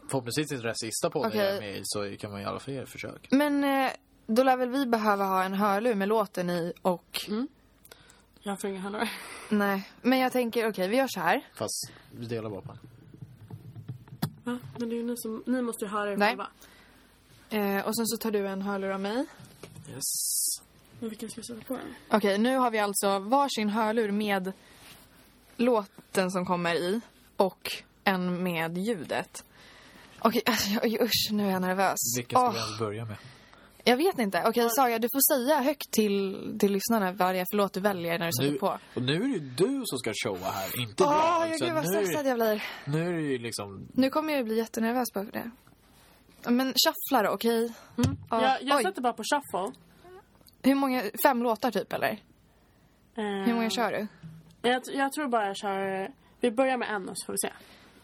förhoppningsvis inte den sista podden jag är Okej. med i så kan man i alla fall göra ett försök. Men eh, då lär väl vi behöva ha en hörlur med låten i och... Jag får inga hörlurar. Nej. Men jag tänker, okej vi gör så här. Fast vi delar bara på den. Va? Men det är ju ni som, ni måste ju höra er Nej. själva. Eh, och sen så tar du en hörlur av mig. Yes. Men vilka ska jag sätta på den? Okej, nu har vi alltså varsin hörlur med låten som kommer i. och en med ljudet. Okej, alltså, oj, usch, nu är jag nervös. Vilken ska vi Åh. ens börja med? Jag vet inte. Okej, Saga, du får säga högt till, till lyssnarna vad det är för låt du väljer när du sätter Nu, på. och nu är det ju du som ska showa här, inte Åh, jag. jag Så gud vad nu, stressad jag blir. nu är det ju liksom... Nu kommer jag ju bli jättenervös bara för det. Men shuffla då, okej? Ja, Mm. Jag, jag Ah, oj. sätter bara på shuffle. Hur många, fem låtar typ eller? Hur Mm. många kör du? Eh, Jag, jag tror bara jag kör... Vi börjar med en och så får vi se.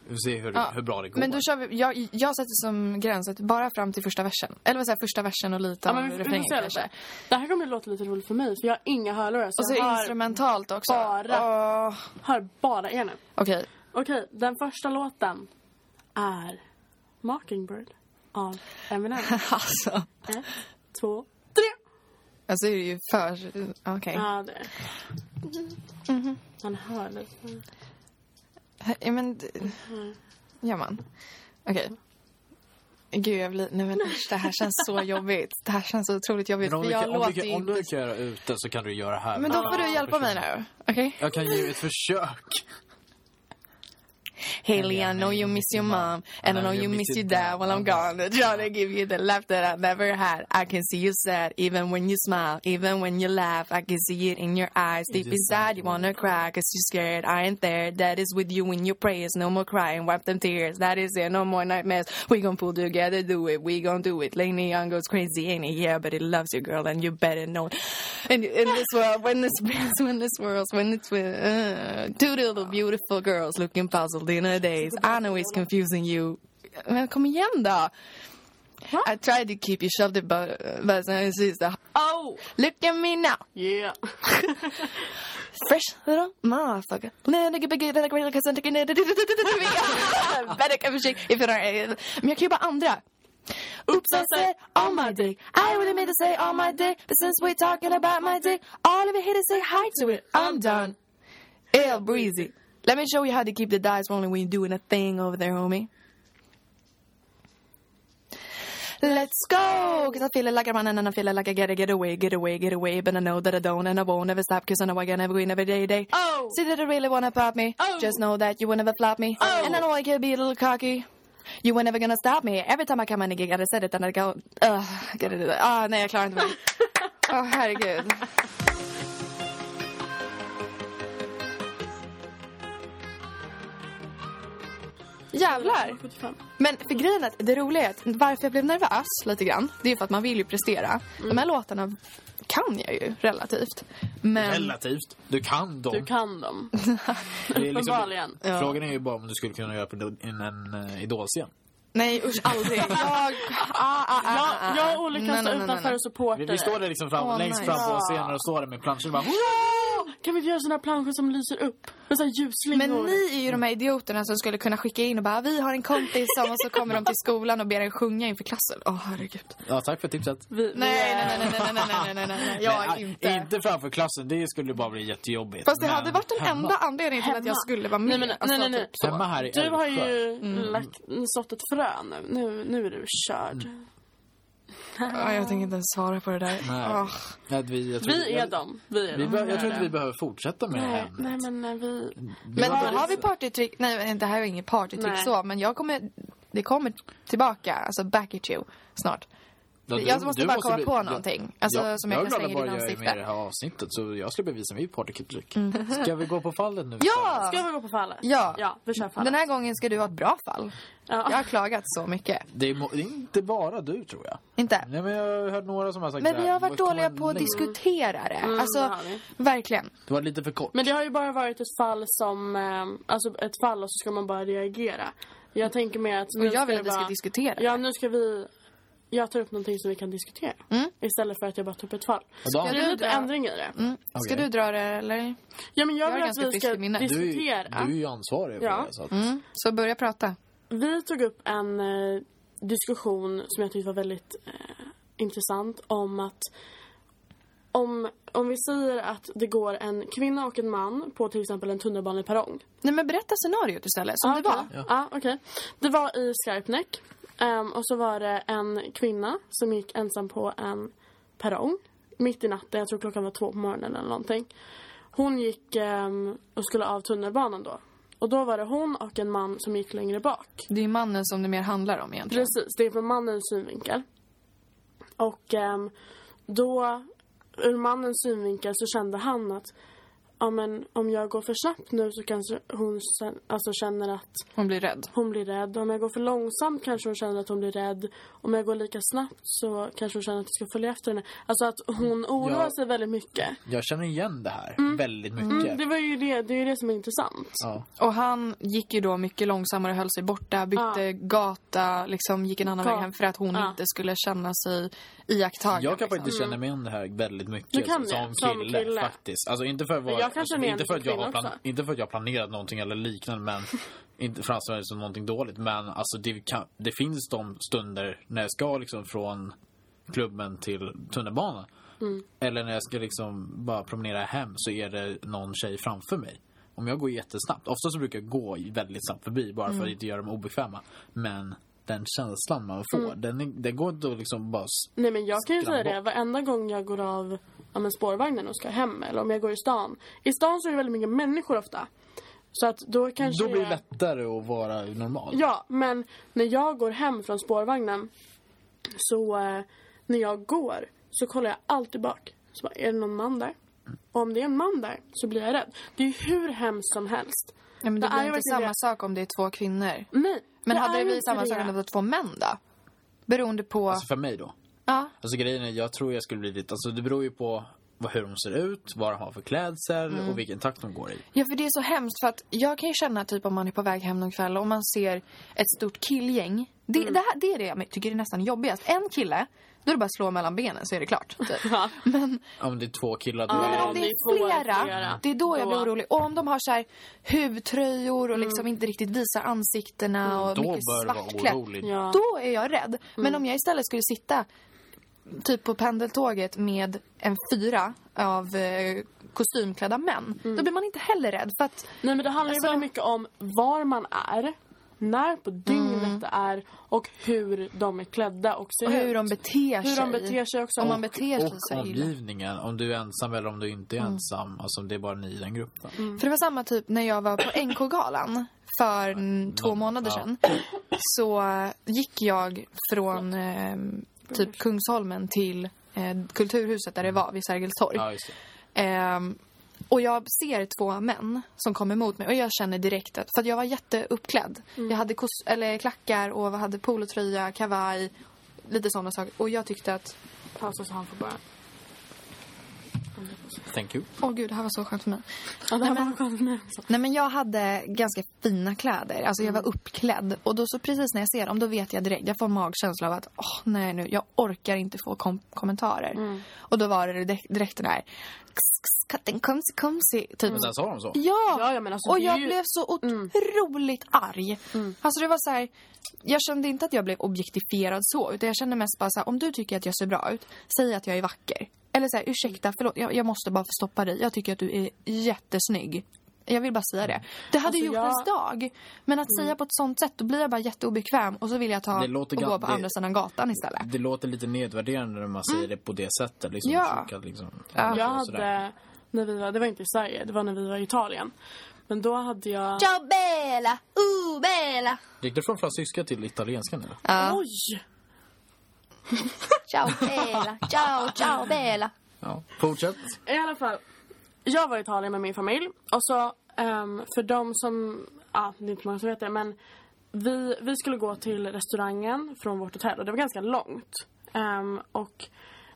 Vi får se hur, Ja, hur bra det går. Men då kör vi, jag, jag sätter som gräns att bara fram till första versen. Eller vad säger jag, första versen och lite Ja, av men vi, vi refrängen får se kanske. lite. Det här kommer att låta lite roligt för mig för jag har inga hörlurar så, Och så jag har, instrumentalt också. bara- Åh, har bara ena. Okej. Okej, den första låten är Mockingbird av Eminem. Alltså. Ett, två, tre! Alltså det är ju för... Okej. Ja, det är Man hör lite. Ja, men... d- Mm. Gör man? Okej. Gud, jag blir... Nej, men usch, det här känns så jobbigt. Det här känns så otroligt jobbigt. Men om, För du jag kan, om, låter du ju kan, om du inte... inte kan göra ute så kan du göra här. Men då får du Ja, hjälpa mig nu. Okej? Jag kan ge ett försök. Haley, I know you miss your mom And I know you miss your dad while I'm gone Trying to give you the laugh that I've never had I can see you sad even when you smile Even when you laugh I can see it in your eyes Deep inside you wanna cry Cause you're scared I ain't there That is with you in your prayers No more crying, wipe them tears That is it, no more nightmares We gon' pull together, do it We gon' do it Lane Young goes crazy ain't he? Yeah, but he loves you girl And you better know it And in this world When this when this world's When it's with uh, Two little beautiful girls Looking puzzled in her days I know it's confusing you Men kom igen då! I tried to keep you sheltered but, but it's just a- Oh! Look at me now Yeah! fresh little motherfucker. Better cup of shake if you don't- Men jag kan ju bara andra. Oops, I said all my dick. I really meant to say all my dick. But since we're talking about my dick, all of you here to say hi to it. I'm done. Ill breezy. Let me show you how to keep the dice rolling when you're doing a thing over there, homie. Let's go! Cause I feel it like I'm running and I feel it like I gotta get away, get away, get away. But I know that I don't and I won't never stop cause I know I can never win every day, day. Oh! See that I really wanna pop me. Oh. Just know that you will never flop me. Oh. And I know I can be a little cocky. You were never gonna stop me. Every time I come on a gig I said it and I go... Uh, gotta do that. Ah, nej jag klarar inte mig. Åh herregud. Jävlar! 75. Men för grejen är att det roliga är att varför jag blev nervös lite grann, det är för att man vill ju prestera. Mm. De här låtarna kan jag ju relativt. Men... Relativt. Du kan dem. Du kan dem. Det är liksom- Uppenbarligen. Ja. Frågan är ju bara om du skulle kunna göra på en, en eh, idolscen. Nej usch aldrig. Jag... Ah, ah, ah, ah, ah. Jag, jag och Olle Nej, kan stå nej, nej, utanför nej. och supporta Vi, vi står där liksom fram, Åh, längst nice. fram på Ja. scenen och står där med planscher och bara... Wow! Kan vi inte göra såna här planscher som lyser upp? Med såna här Men ljusslingor? ni är ju de här idioterna som skulle kunna skicka in och bara vi har en kompis som och så kommer de till skolan och ber en sjunga inför klassen. Åh herregud. Ja, tack för tipset. Vi, Nej nej nej nej nej nej nej nej nej nej. Jag är Nej, inte. inte framför klassen, det skulle bara bli jättejobbigt. Fast det Men hade varit den hemma- enda anledningen till att jag Hemma. skulle vara med. Nej, men- Alltså, nej, nej, nej. typ så. Hemma här i Du har Älvsjö. ju Mm. lagt, sått ett frö nu. nu. Nu är du körd. Mm. Ja, jag tänker inte ens svara på det där. Nej. Åh. Nej, vi, jag tror, Vi är jag- dem. Vi är Vi dem. be- jag tror inte vi behöver fortsätta med det Nej, här. nej, men nej, vi... Men var har, väldigt- vi partytrick? Nej, det här är inget partytrick Nej. så, men jag kommer... Det kommer tillbaka, alltså back at you, snart. Ja, du- jag måste du bara komma bli- på ja, någonting, alltså, ja, som jag kan är glad slänga i ditt att bara jag är med i ansikte. det här avsnittet, så jag ska bevisa mitt partykritik. Ska vi gå på fallet nu? Mm. Ja! Ska vi gå på fallet? Ja. Ja, vi kör fallet. Den här gången ska du ha ett bra fall. ja. Jag har klagat så mycket. Det är, mo- det är inte bara du, tror jag. Inte? Nej, men jag har hört några som har typ sagt Men så här, vi har varit "Vad kommer dåliga på att nu?" diskutera det. Mm, det Alltså, har vi. verkligen. Det var lite för kort. Men det har ju bara varit ett fall som... Eh, alltså ett fall och så ska man bara reagera. Jag tänker mer att... nu Och jag vill det att vi ska vara- diskutera det. Ja, nu ska vi... Jag tar upp någonting som vi kan diskutera. Istället för att jag bara tar upp ett fall. Och då- Det är Mm. du lite dra- ändring i det. Mm. Ska Okej. du dra det, eller? Ja, men Jag jag, är vill att ganska vi frisk ska i minnet. du, är ju- diskutera. du är ju ansvarig Ja. för det. Så att, Mm. Så börja prata. Vi tog upp en eh, diskussion som jag tyckte var väldigt eh, intressant om att om, om vi säger att det går en kvinna och en man på till exempel en tunnelbaneperrong. Nej, men berätta scenariot istället, som Ja, det var. Ah, okej. Ja, okej. Det var i Skarpnäck. Ehm, och så var det en kvinna som gick ensam på en perrong mitt i natten. Jag tror klockan var två på morgonen eller någonting. Hon gick ehm, och skulle av tunnelbanan då. Och då var det hon och en man som gick längre bak. Det är mannen som det mer handlar om egentligen. Precis, det är från mannens synvinkel. Och ehm, då, ur mannens synvinkel, så kände han att ja, men, om jag går för snabbt nu så kanske hon sen, alltså, känner att Hon blir rädd. hon blir rädd. Om jag går för långsamt kanske hon känner att hon blir rädd. Om jag går lika snabbt så kanske hon känner att jag ska följa efter henne. Alltså att hon oroar Ja. sig väldigt mycket. Jag känner igen det här väldigt mycket. Mm, det var ju det, det är ju det som är intressant. Ja. Och han gick ju då mycket långsammare och höll sig borta, bytte Ja. gata, liksom gick en annan Ja. väg hem för att hon Ja. inte skulle känna sig iakttagen. Jag kan liksom. faktiskt känna mig igen det här väldigt mycket Du kan som, det, som, som kille, kille. faktiskt. Alltså inte för, att vara, Jag kan känna igen inte för det att som jag har kille plan, också. inte för att jag har planerat någonting eller liknande men inte för att det är som någonting dåligt men alltså det, kan, det finns de stunder när jag ska liksom från klubben till tunnelbanan Mm. eller när jag ska liksom bara promenera hem så är det någon tjej framför mig. Om jag går jättesnabbt, ofta så brukar jag gå väldigt snabbt förbi bara Mm. för att inte göra dem obekväma. Men den känslan man får, Mm. den, är, den går inte att liksom bara s- Nej men jag kan ju Skrambo. säga det, varenda gång jag går av ja, men spårvagnen och ska hem eller om jag går i stan. I stan så är det väldigt mycket människor ofta. Så att då kanske Då blir det jag... lättare att vara normal. Ja, men när jag går hem från spårvagnen så eh, när jag går så kollar jag alltid bak. Så bara, är det någon man där? Och om det är en man där så blir jag rädd. Det är ju hur hemskt som helst. Ja, men det, Det blir är ju inte verkligen samma det. sak om det är två kvinnor. Nej, Men det hade är det inte blivit samma sak om det var två män då? Beroende på... Alltså för mig då. ja. Alltså grejen är, jag tror jag skulle bli lite, alltså det beror ju på vad, hur de ser ut, vad de har för klädsel Mm. och vilken takt de går i. ja, för det är så hemskt för att jag kan ju känna typ om man är på väg hem någon kväll och man ser ett stort killgäng. Det, Mm. det, här, det är det jag tycker är nästan jobbigast. En kille, då är det bara att slå mellan benen så är det klart. Typ. Men Om det är två killar då Ja, Men är om det det är får flera, flera. det är då jag blir Då- Mm. orolig. Och om de har så här huvtröjor och liksom inte riktigt visar ansiktena och då mycket bör du vara svartklätt. orolig. Ja. Mm. Då är jag rädd. Men om jag istället skulle sitta typ på pendeltåget med en fyra av eh, kostymklädda män. Mm. Då blir man inte heller rädd. För att, Nej, men det handlar Alltså- ju väldigt mycket om var man är, när på dygnet det är och hur de är klädda och ser Mm. och hur ut. de beter sig. Mm. hur de beter sig också. Om man beter sig Och så Mm. illa. omgivningen, om du är ensam eller om du inte är ensam. Alltså om det är bara ni i den gruppen. För det var samma typ när jag var på NK-galan för mm, två månader ja. sedan. Så eh, gick jag från eh, typ Kungsholmen till eh, Kulturhuset där det var, vid Sergels torg. Ja, just det. Ehm, och jag ser två män som kommer mot mig och jag känner direkt att, för att jag var jätteuppklädd. Mm. Jag hade kos- eller klackar och hade polotröja, kavaj, lite sådana saker. Och jag tyckte att, Pausa så alltså, han får börja. Thank you. åh gud det här var så skönt för mig. Ja, det här var skönt med också. Nej men jag hade ganska fina kläder. Alltså jag var uppklädd. Och då så precis när jag ser dem då vet jag direkt. Jag får en magkänsla av att åh nej nu, jag orkar inte få kom- kommentarer. Och då var det direkt, direkt den här "Kss, kss, katten komsi komsi. Typ. Men sen sa de så. Ja! Ja, ja, men alltså, och det är jag ju- Mm. blev så otroligt arg. Alltså det var så här, jag kände inte att jag blev objektifierad så. Utan jag kände mest bara så här, om du tycker att jag ser bra ut, säg att jag är vacker. Eller så här, Mm. ursäkta, förlåt, jag, jag måste bara få stoppa dig. Jag tycker att du är jättesnygg. Jag vill bara säga det. Det hade Alltså, Mm. gjort jag- ens dag. Men att säga på ett sånt sätt, då blir jag bara jätteobekväm och så vill jag ta Det och låter gå gan- på det- andra sidan gatan istället. Det låter lite nedvärderande när man säger det på det sättet. Liksom, Mm. Ja. försöka liksom, Jag och sådär. hade, när vi var, det var inte i Sverige, det var när vi var i Italien. Men då hade jag... Ciao bella, uh bella. Gick du från fransyska till italienska nu? Ja. Oj! Ciao bella, ciao, ciao bella. Ja. Fortsätt. Alltså, I alla fall, jag var i Italien med min familj. Och så, ehm, för de som... Ja, det är inte många som vet det, men vi, vi skulle gå till restaurangen från vårt hotell och det var ganska långt. Ehm, och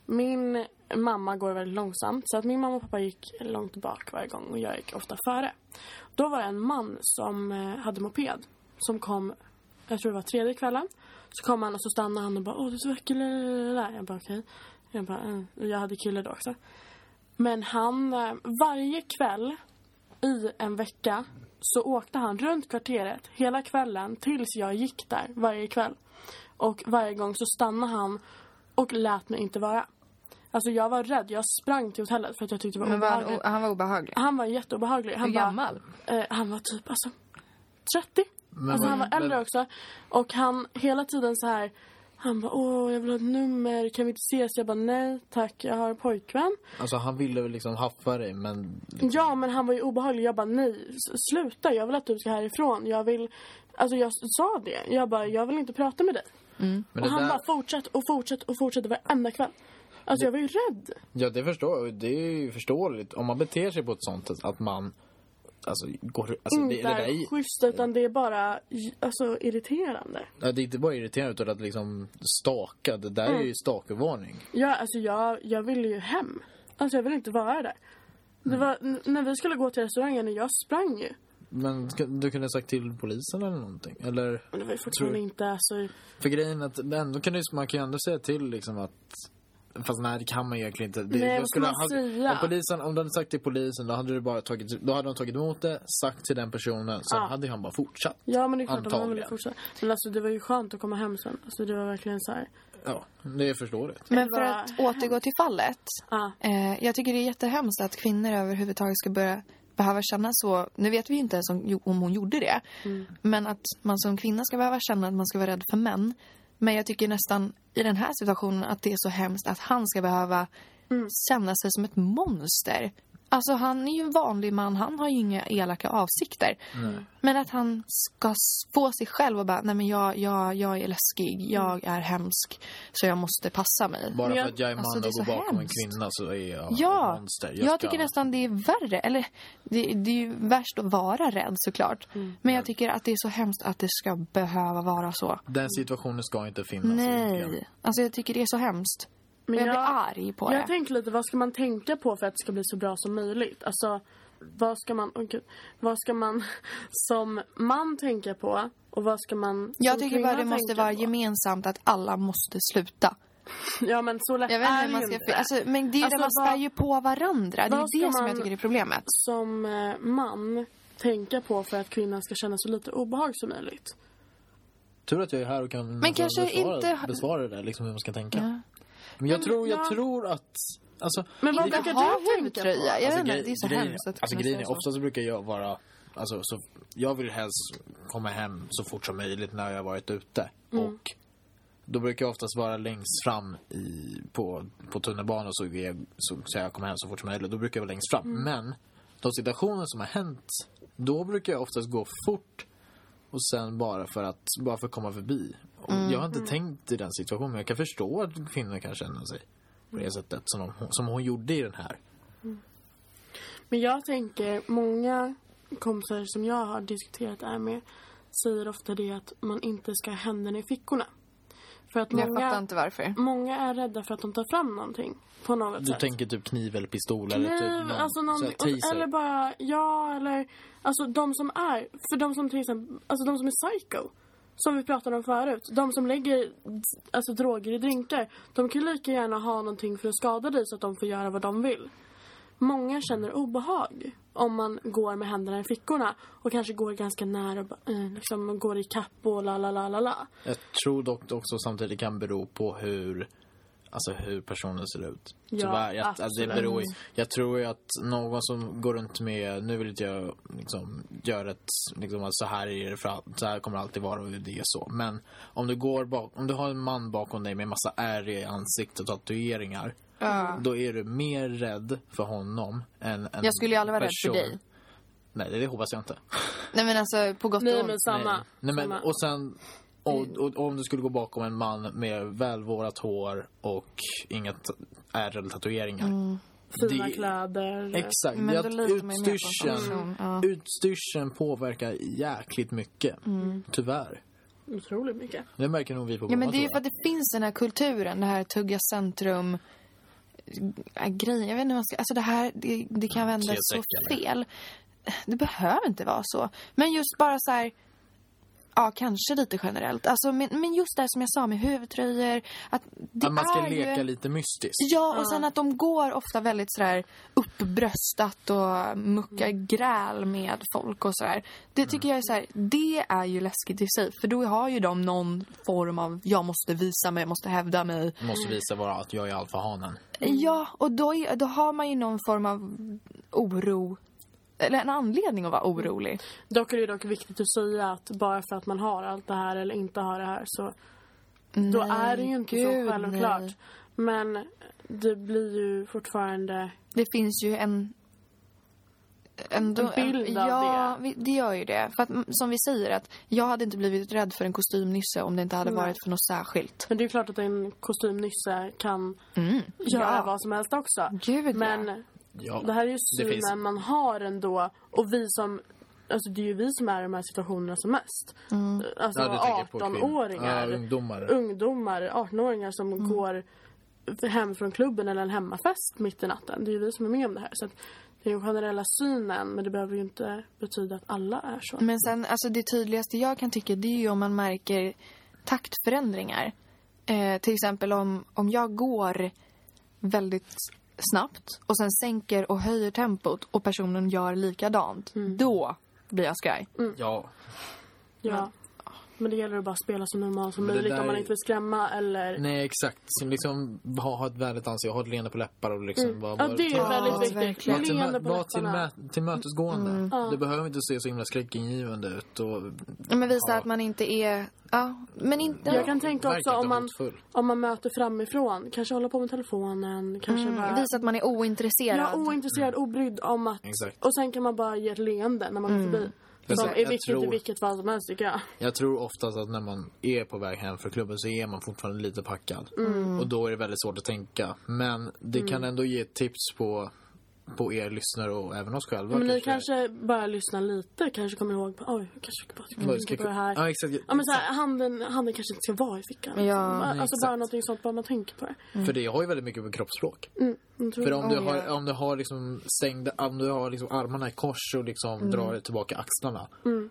min mamma går väldigt långsamt så att min mamma och pappa gick långt bak varje gång och jag gick ofta före. Då var det en man som eh, hade moped som kom, jag tror det var tredje kvällen. Så kom han och så stannade han och bara åh du är så vacker. lalalala." Jag bara okej. Jag bara "Eh." Och jag hade kille då också. Men han, eh, varje kväll i en vecka så åkte han runt kvarteret hela kvällen tills jag gick där varje kväll. Och varje gång så stannade han och lät mig inte vara. Alltså jag var rädd. Jag sprang till hotellet för att jag tyckte det var Men var han, obehagligt. o- han var obehaglig. Han var jätteobehaglig. Han Hur bara- gammal? Eh, han var typ alltså 30. Men alltså, han vad- var äldre men- också. Och han hela tiden så här... Han bara, åh, jag vill ha ett nummer. Kan vi inte ses? Jag bara, nej tack, jag har en pojkvän. Alltså han ville väl liksom haffa dig men... Ja, men han var ju obehaglig. Jag bara, nej, s- sluta. Jag vill att du ska härifrån. Jag vill... Alltså, jag s- sa det. Jag bara, jag vill inte prata med dig. men Och han där- bara fortsatt och fortsatt och fortsatte varenda kväll. Alltså, jag var ju rädd. Ja, det förstår jag. Det är ju förståeligt. Om man beter sig på ett sånt sätt att man... Alltså, går, alltså det, Inte eller det, är är, schysst, utan det är bara alltså, irriterande. ja, det är inte bara irriterande utan att liksom staka. Det där Mm. är ju stalkervarning. Ja, alltså jag, jag ville ju hem. Alltså jag ville inte vara där. Det var, n- när vi skulle gå till restaurangen, jag sprang ju. Men ska- du kunde ha sagt till polisen eller någonting? Eller? Men det var ju fortfarande Tror- inte alltså... För grejen är att ändå kan du, man kan ju ändå säga till liksom att... Fast nej, det kan man ju egentligen inte. Det, Nej, jag vad ska man ha- säga? Om, polisen, om du hade sagt till polisen, då hade, du bara tagit, då hade de tagit emot det, sagt till den personen, sen Ja. hade han bara fortsatt. Ja, men det är klart att man ville Antagligen. fortsätta. Men alltså det var ju skönt att komma hem sen. Alltså det var verkligen så här... Ja, det är förståeligt. Men Det för var att återgå till fallet. Ah. Eh, jag tycker det är jättehemskt att kvinnor överhuvudtaget ska börja behöva känna så. Nu vet vi ju inte ens om, om hon gjorde det. Men att man som kvinna ska behöva känna att man ska vara rädd för män. Men jag tycker nästan i den här situationen att det är så hemskt att han ska behöva känna sig som ett monster. Alltså han är ju en vanlig man, han har ju inga elaka avsikter. Men att han ska s- få sig själv och bara, nej men jag, jag, jag är läskig, jag är hemsk, så jag måste passa mig. Bara Men jag- för att jag är man alltså, det är och går så bakom hemskt. en kvinna så är jag ett Ja, monster. jag, tycker nästan det är värre. Eller det, det är ju värst att vara rädd såklart. Mm. Men jag tycker att det är så hemskt att det ska behöva vara så. Den situationen ska inte finnas. egentligen. Nej, alltså jag tycker det är så hemskt. Men jag, blir arg på det. Jag tänker lite, vad ska man tänka på för att det ska bli så bra som möjligt? Alltså, vad ska man, oh gud, vad ska man som man tänka på och vad ska man som Jag tycker bara kvinna det måste tänka vara på? gemensamt att alla måste sluta. Ja, men så lätt Jag vet inte är hur man ju ska... inte. Alltså, men det är ju Alltså, det, man vad- spär ju på varandra. Det är vad ju det ska som man- jag tycker är problemet. som eh, man tänka på för att kvinnan ska känna så lite obehag som möjligt. Tur att jag är här och kan Men kanske besvara, inte- besvara det, liksom hur man ska tänka. Ja. Men jag Men- tror, jag ja. tror att... Alltså, Men vad Inte brukar ha du tänka på? huvtröja. Jag vet inte, grej- det är så Alltså, grejen- hemskt att Alltså kunna grejen säga är, så. ofta så brukar jag vara... Alltså, så, jag vill helst komma hem så fort som möjligt när jag har varit ute. Mm. Och då brukar jag oftast vara längst fram i, på, på tunnelbanan så, är jag, så, så jag kommer hem så fort som möjligt. Då brukar jag vara längst fram. Mm. Men de situationer som har hänt, då brukar jag oftast gå fort och sen bara för att, bara för att komma förbi. Och Mm, Jag har inte tänkt i den situationen, men jag kan förstå att kvinnor kan känna sig på Mm. det sättet som, de, som hon gjorde i den här. Men jag tänker, många kompisar som jag har diskuterat det här med säger ofta det att man inte ska ha händerna i fickorna. För att Jag fattar många, inte varför. många är rädda för att de tar fram någonting på något Du sätt. tänker typ kniv eller pistol eller Nej, typ men någon, alltså någon, så här taser. eller bara, ja eller, alltså de som är, för de som till exempel, alltså de som är psycho, som vi pratade om förut, de som lägger alltså, droger i drinkar, de kan lika gärna ha någonting för att skada dig så att de får göra vad de vill. Många känner obehag om man går med händerna i fickorna och kanske går ganska nära och bara, eh, liksom, och går i kapp och la la la la la. Jag tror dock också samtidigt kan bero på hur Alltså hur personen ser ut. Ja, Tyvärr. Jag, alltså det absolut. beror, ju- jag tror ju att någon som går runt med, nu vill inte jag liksom göra ett, liksom att så här är det för all, så här kommer det alltid vara och det är så. Men om du går bak, om du har en man bakom dig med massa ärr i ansiktet och tatueringar. Då är du mer rädd för honom än en Jag skulle ju aldrig vara rädd för person- dig. Nej, det hoppas jag inte. Nej men alltså på gott och Nej ont. men samma. Nej. Nej, men, samma. och sen och, Mm. och, och om du skulle gå bakom en man med välvårat hår och inga t- ärr eller tatueringar. Fina det- kläder. Exakt. Mm. Men det är då att litar man ju mer på en person, utstyrseln, ja. utstyrseln påverkar jäkligt mycket. Tyvärr. Otroligt mycket. Det märker nog vi på Mm. Ja, men båda, det är ju tror för att det finns den här kulturen, det här tugga centrum äh, grejen. Jag vet inte hur man ska... Alltså det här, det, det kan vända så Klädsäck, fel. Det behöver inte vara så. Men just bara så här... Ja, kanske lite generellt. Alltså, men, men just det här som jag sa med huvtröjor. Att det jag. Att man ska är leka ju... lite mystiskt. Ja, och sen att de går ofta väldigt sådär uppbröstat och muckar Mm. gräl med folk och sådär. Det tycker jag är såhär, det är ju läskigt i sig. För då har ju de någon form av, jag måste visa mig, jag måste hävda mig. Måste visa bara att jag är alfahanen. Mm. Ja, och då, är, då har man ju någon form av oro. Eller en anledning att Mm. vara orolig. Dock är det dock viktigt att säga att bara för att man har allt det här eller inte har det här så Då är det ju inte gud, så självklart. nej. Men det blir ju fortfarande... Det finns ju en... Ändå, En bild av ja, det. vi- det gör ju det. För att, mm, som vi säger, att jag hade inte blivit rädd för en kostymnisse om det inte hade Nej. varit för något särskilt. Men det är ju klart att en kostymnisse kan Mm. göra Ja. vad som helst också. Gud, Men ja. Ja. det här är ju Det synen finns- man har ändå. Och vi som... Alltså det är ju vi som är i de här situationerna som mest. Mm. Alltså Ja, du tänker på kvinn- 18-åringar. Ja, ungdomar. ungdomar, 18-åringar som Mm. går hem från klubben eller en hemmafest mitt i natten. Det är ju vi som är med om det här. Så att det är den generella synen, men det behöver ju inte betyda att alla är så. Men sen, alltså det tydligaste jag kan tycka det är ju om man märker taktförändringar. Eh, till exempel om, om jag går väldigt snabbt och sen sänker och höjer tempot och personen gör likadant. Mm. Då blir jag skraj. Ja. ja. men det gäller att bara spela så normalt som Men det möjligt om där man är- inte vill skrämma eller... Nej, exakt. Som liksom, ha, ha ett vänligt ansikte, ha ett leende på läppar och liksom bara... Mm. Ja, det är ju Ja, väldigt viktigt. verkligen. Var, till, Leende på var till, läpparna. Mm, mötesgående. Ja. Det behöver inte se så himla skräckingivande ut. Och, Mm. Ja, Men visa Ja. att man inte är... Ja, men inte... Jag kan tänka Verkar också inte om man, hotfull. om man möter framifrån. Kanske hålla på med telefonen, kanske bara... Mm, visa att man är ointresserad. Ja, ointresserad, obrydd om att... Exakt. Och sen kan man bara ge ett leende när man Mm. går förbi. Som Jag- är jag viktigt i tror- vilket fall som helst, tycker jag. Jag tror oftast att när man är på väg hem från klubben så är man fortfarande lite packad. Mm. Och då är det väldigt svårt att tänka. Men det kan ändå ge tips på, på er lyssnare och även oss själva. Men ni kanske bara lyssnar lite, kanske kommer ihåg oj, jag kanske bara ska Vad tänka ska- på det här. Ja, exakt. Ja, men så här, handen, handen kanske inte ska vara i fickan. liksom. Ja, Bara- nej, alltså exakt. bara någonting sånt, bara man tänker på det. För det har ju väldigt mycket med kroppsspråk. Mm, jag tror För det. om du Oh, har, ja. om du har liksom stängda, om du har liksom armarna i kors och liksom Mm. drar tillbaka axlarna.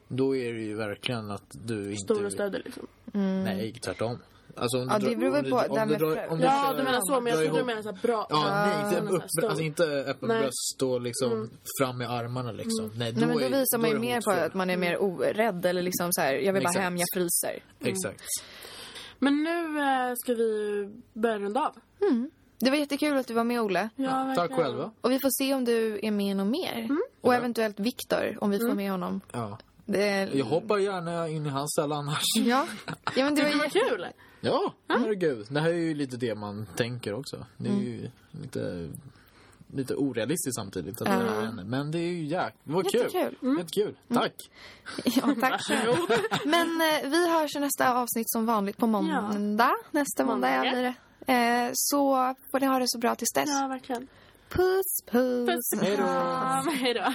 Då är det ju verkligen att du inte... Stora städer liksom. Nej, tvärtom. Alltså om du Mm. Ja, drar- det beror väl om du- på. om du Det här med drar- frö- om du Ja, kör- du menar så, men jag drar trodde du ihop- menade så här bra. Ja, Ah, nej, men inte, så här, upp, stor. alltså inte öppen Nej. bröst och liksom fram med armarna liksom. Nej, då, Mm. Nej, men då är, visar man då ju är det mer på hotfull. att man är mer orädd eller liksom så här, jag vill bara Exakt. hem, jag fryser. Exakt. Mm. Men nu eh, ska vi börja runda av. Det var jättekul att du var med Olle. Ja, Tack verkligen. själva. Och vi får se om du är med i något mer. Och eventuellt Viktor, om vi får med honom. Ja. Det är... Jag hoppar gärna in i hans ställe annars. Ja. ja, men det var Det var ju... kul. Ja, herregud. Det här är ju lite det man tänker också. Det är ju lite, lite orealistiskt samtidigt. Att det här händer. Men det är ju jäk... Det var Jättekul. kul. Jättekul. Tack. Ja, tack. Men eh, vi hörs i nästa avsnitt som vanligt på måndag. Nästa måndag, ja, Måndag. blir det. Eh, så får ni ha det så bra tills dess. Ja, verkligen. Puss, puss. Puss, puss. Hej då.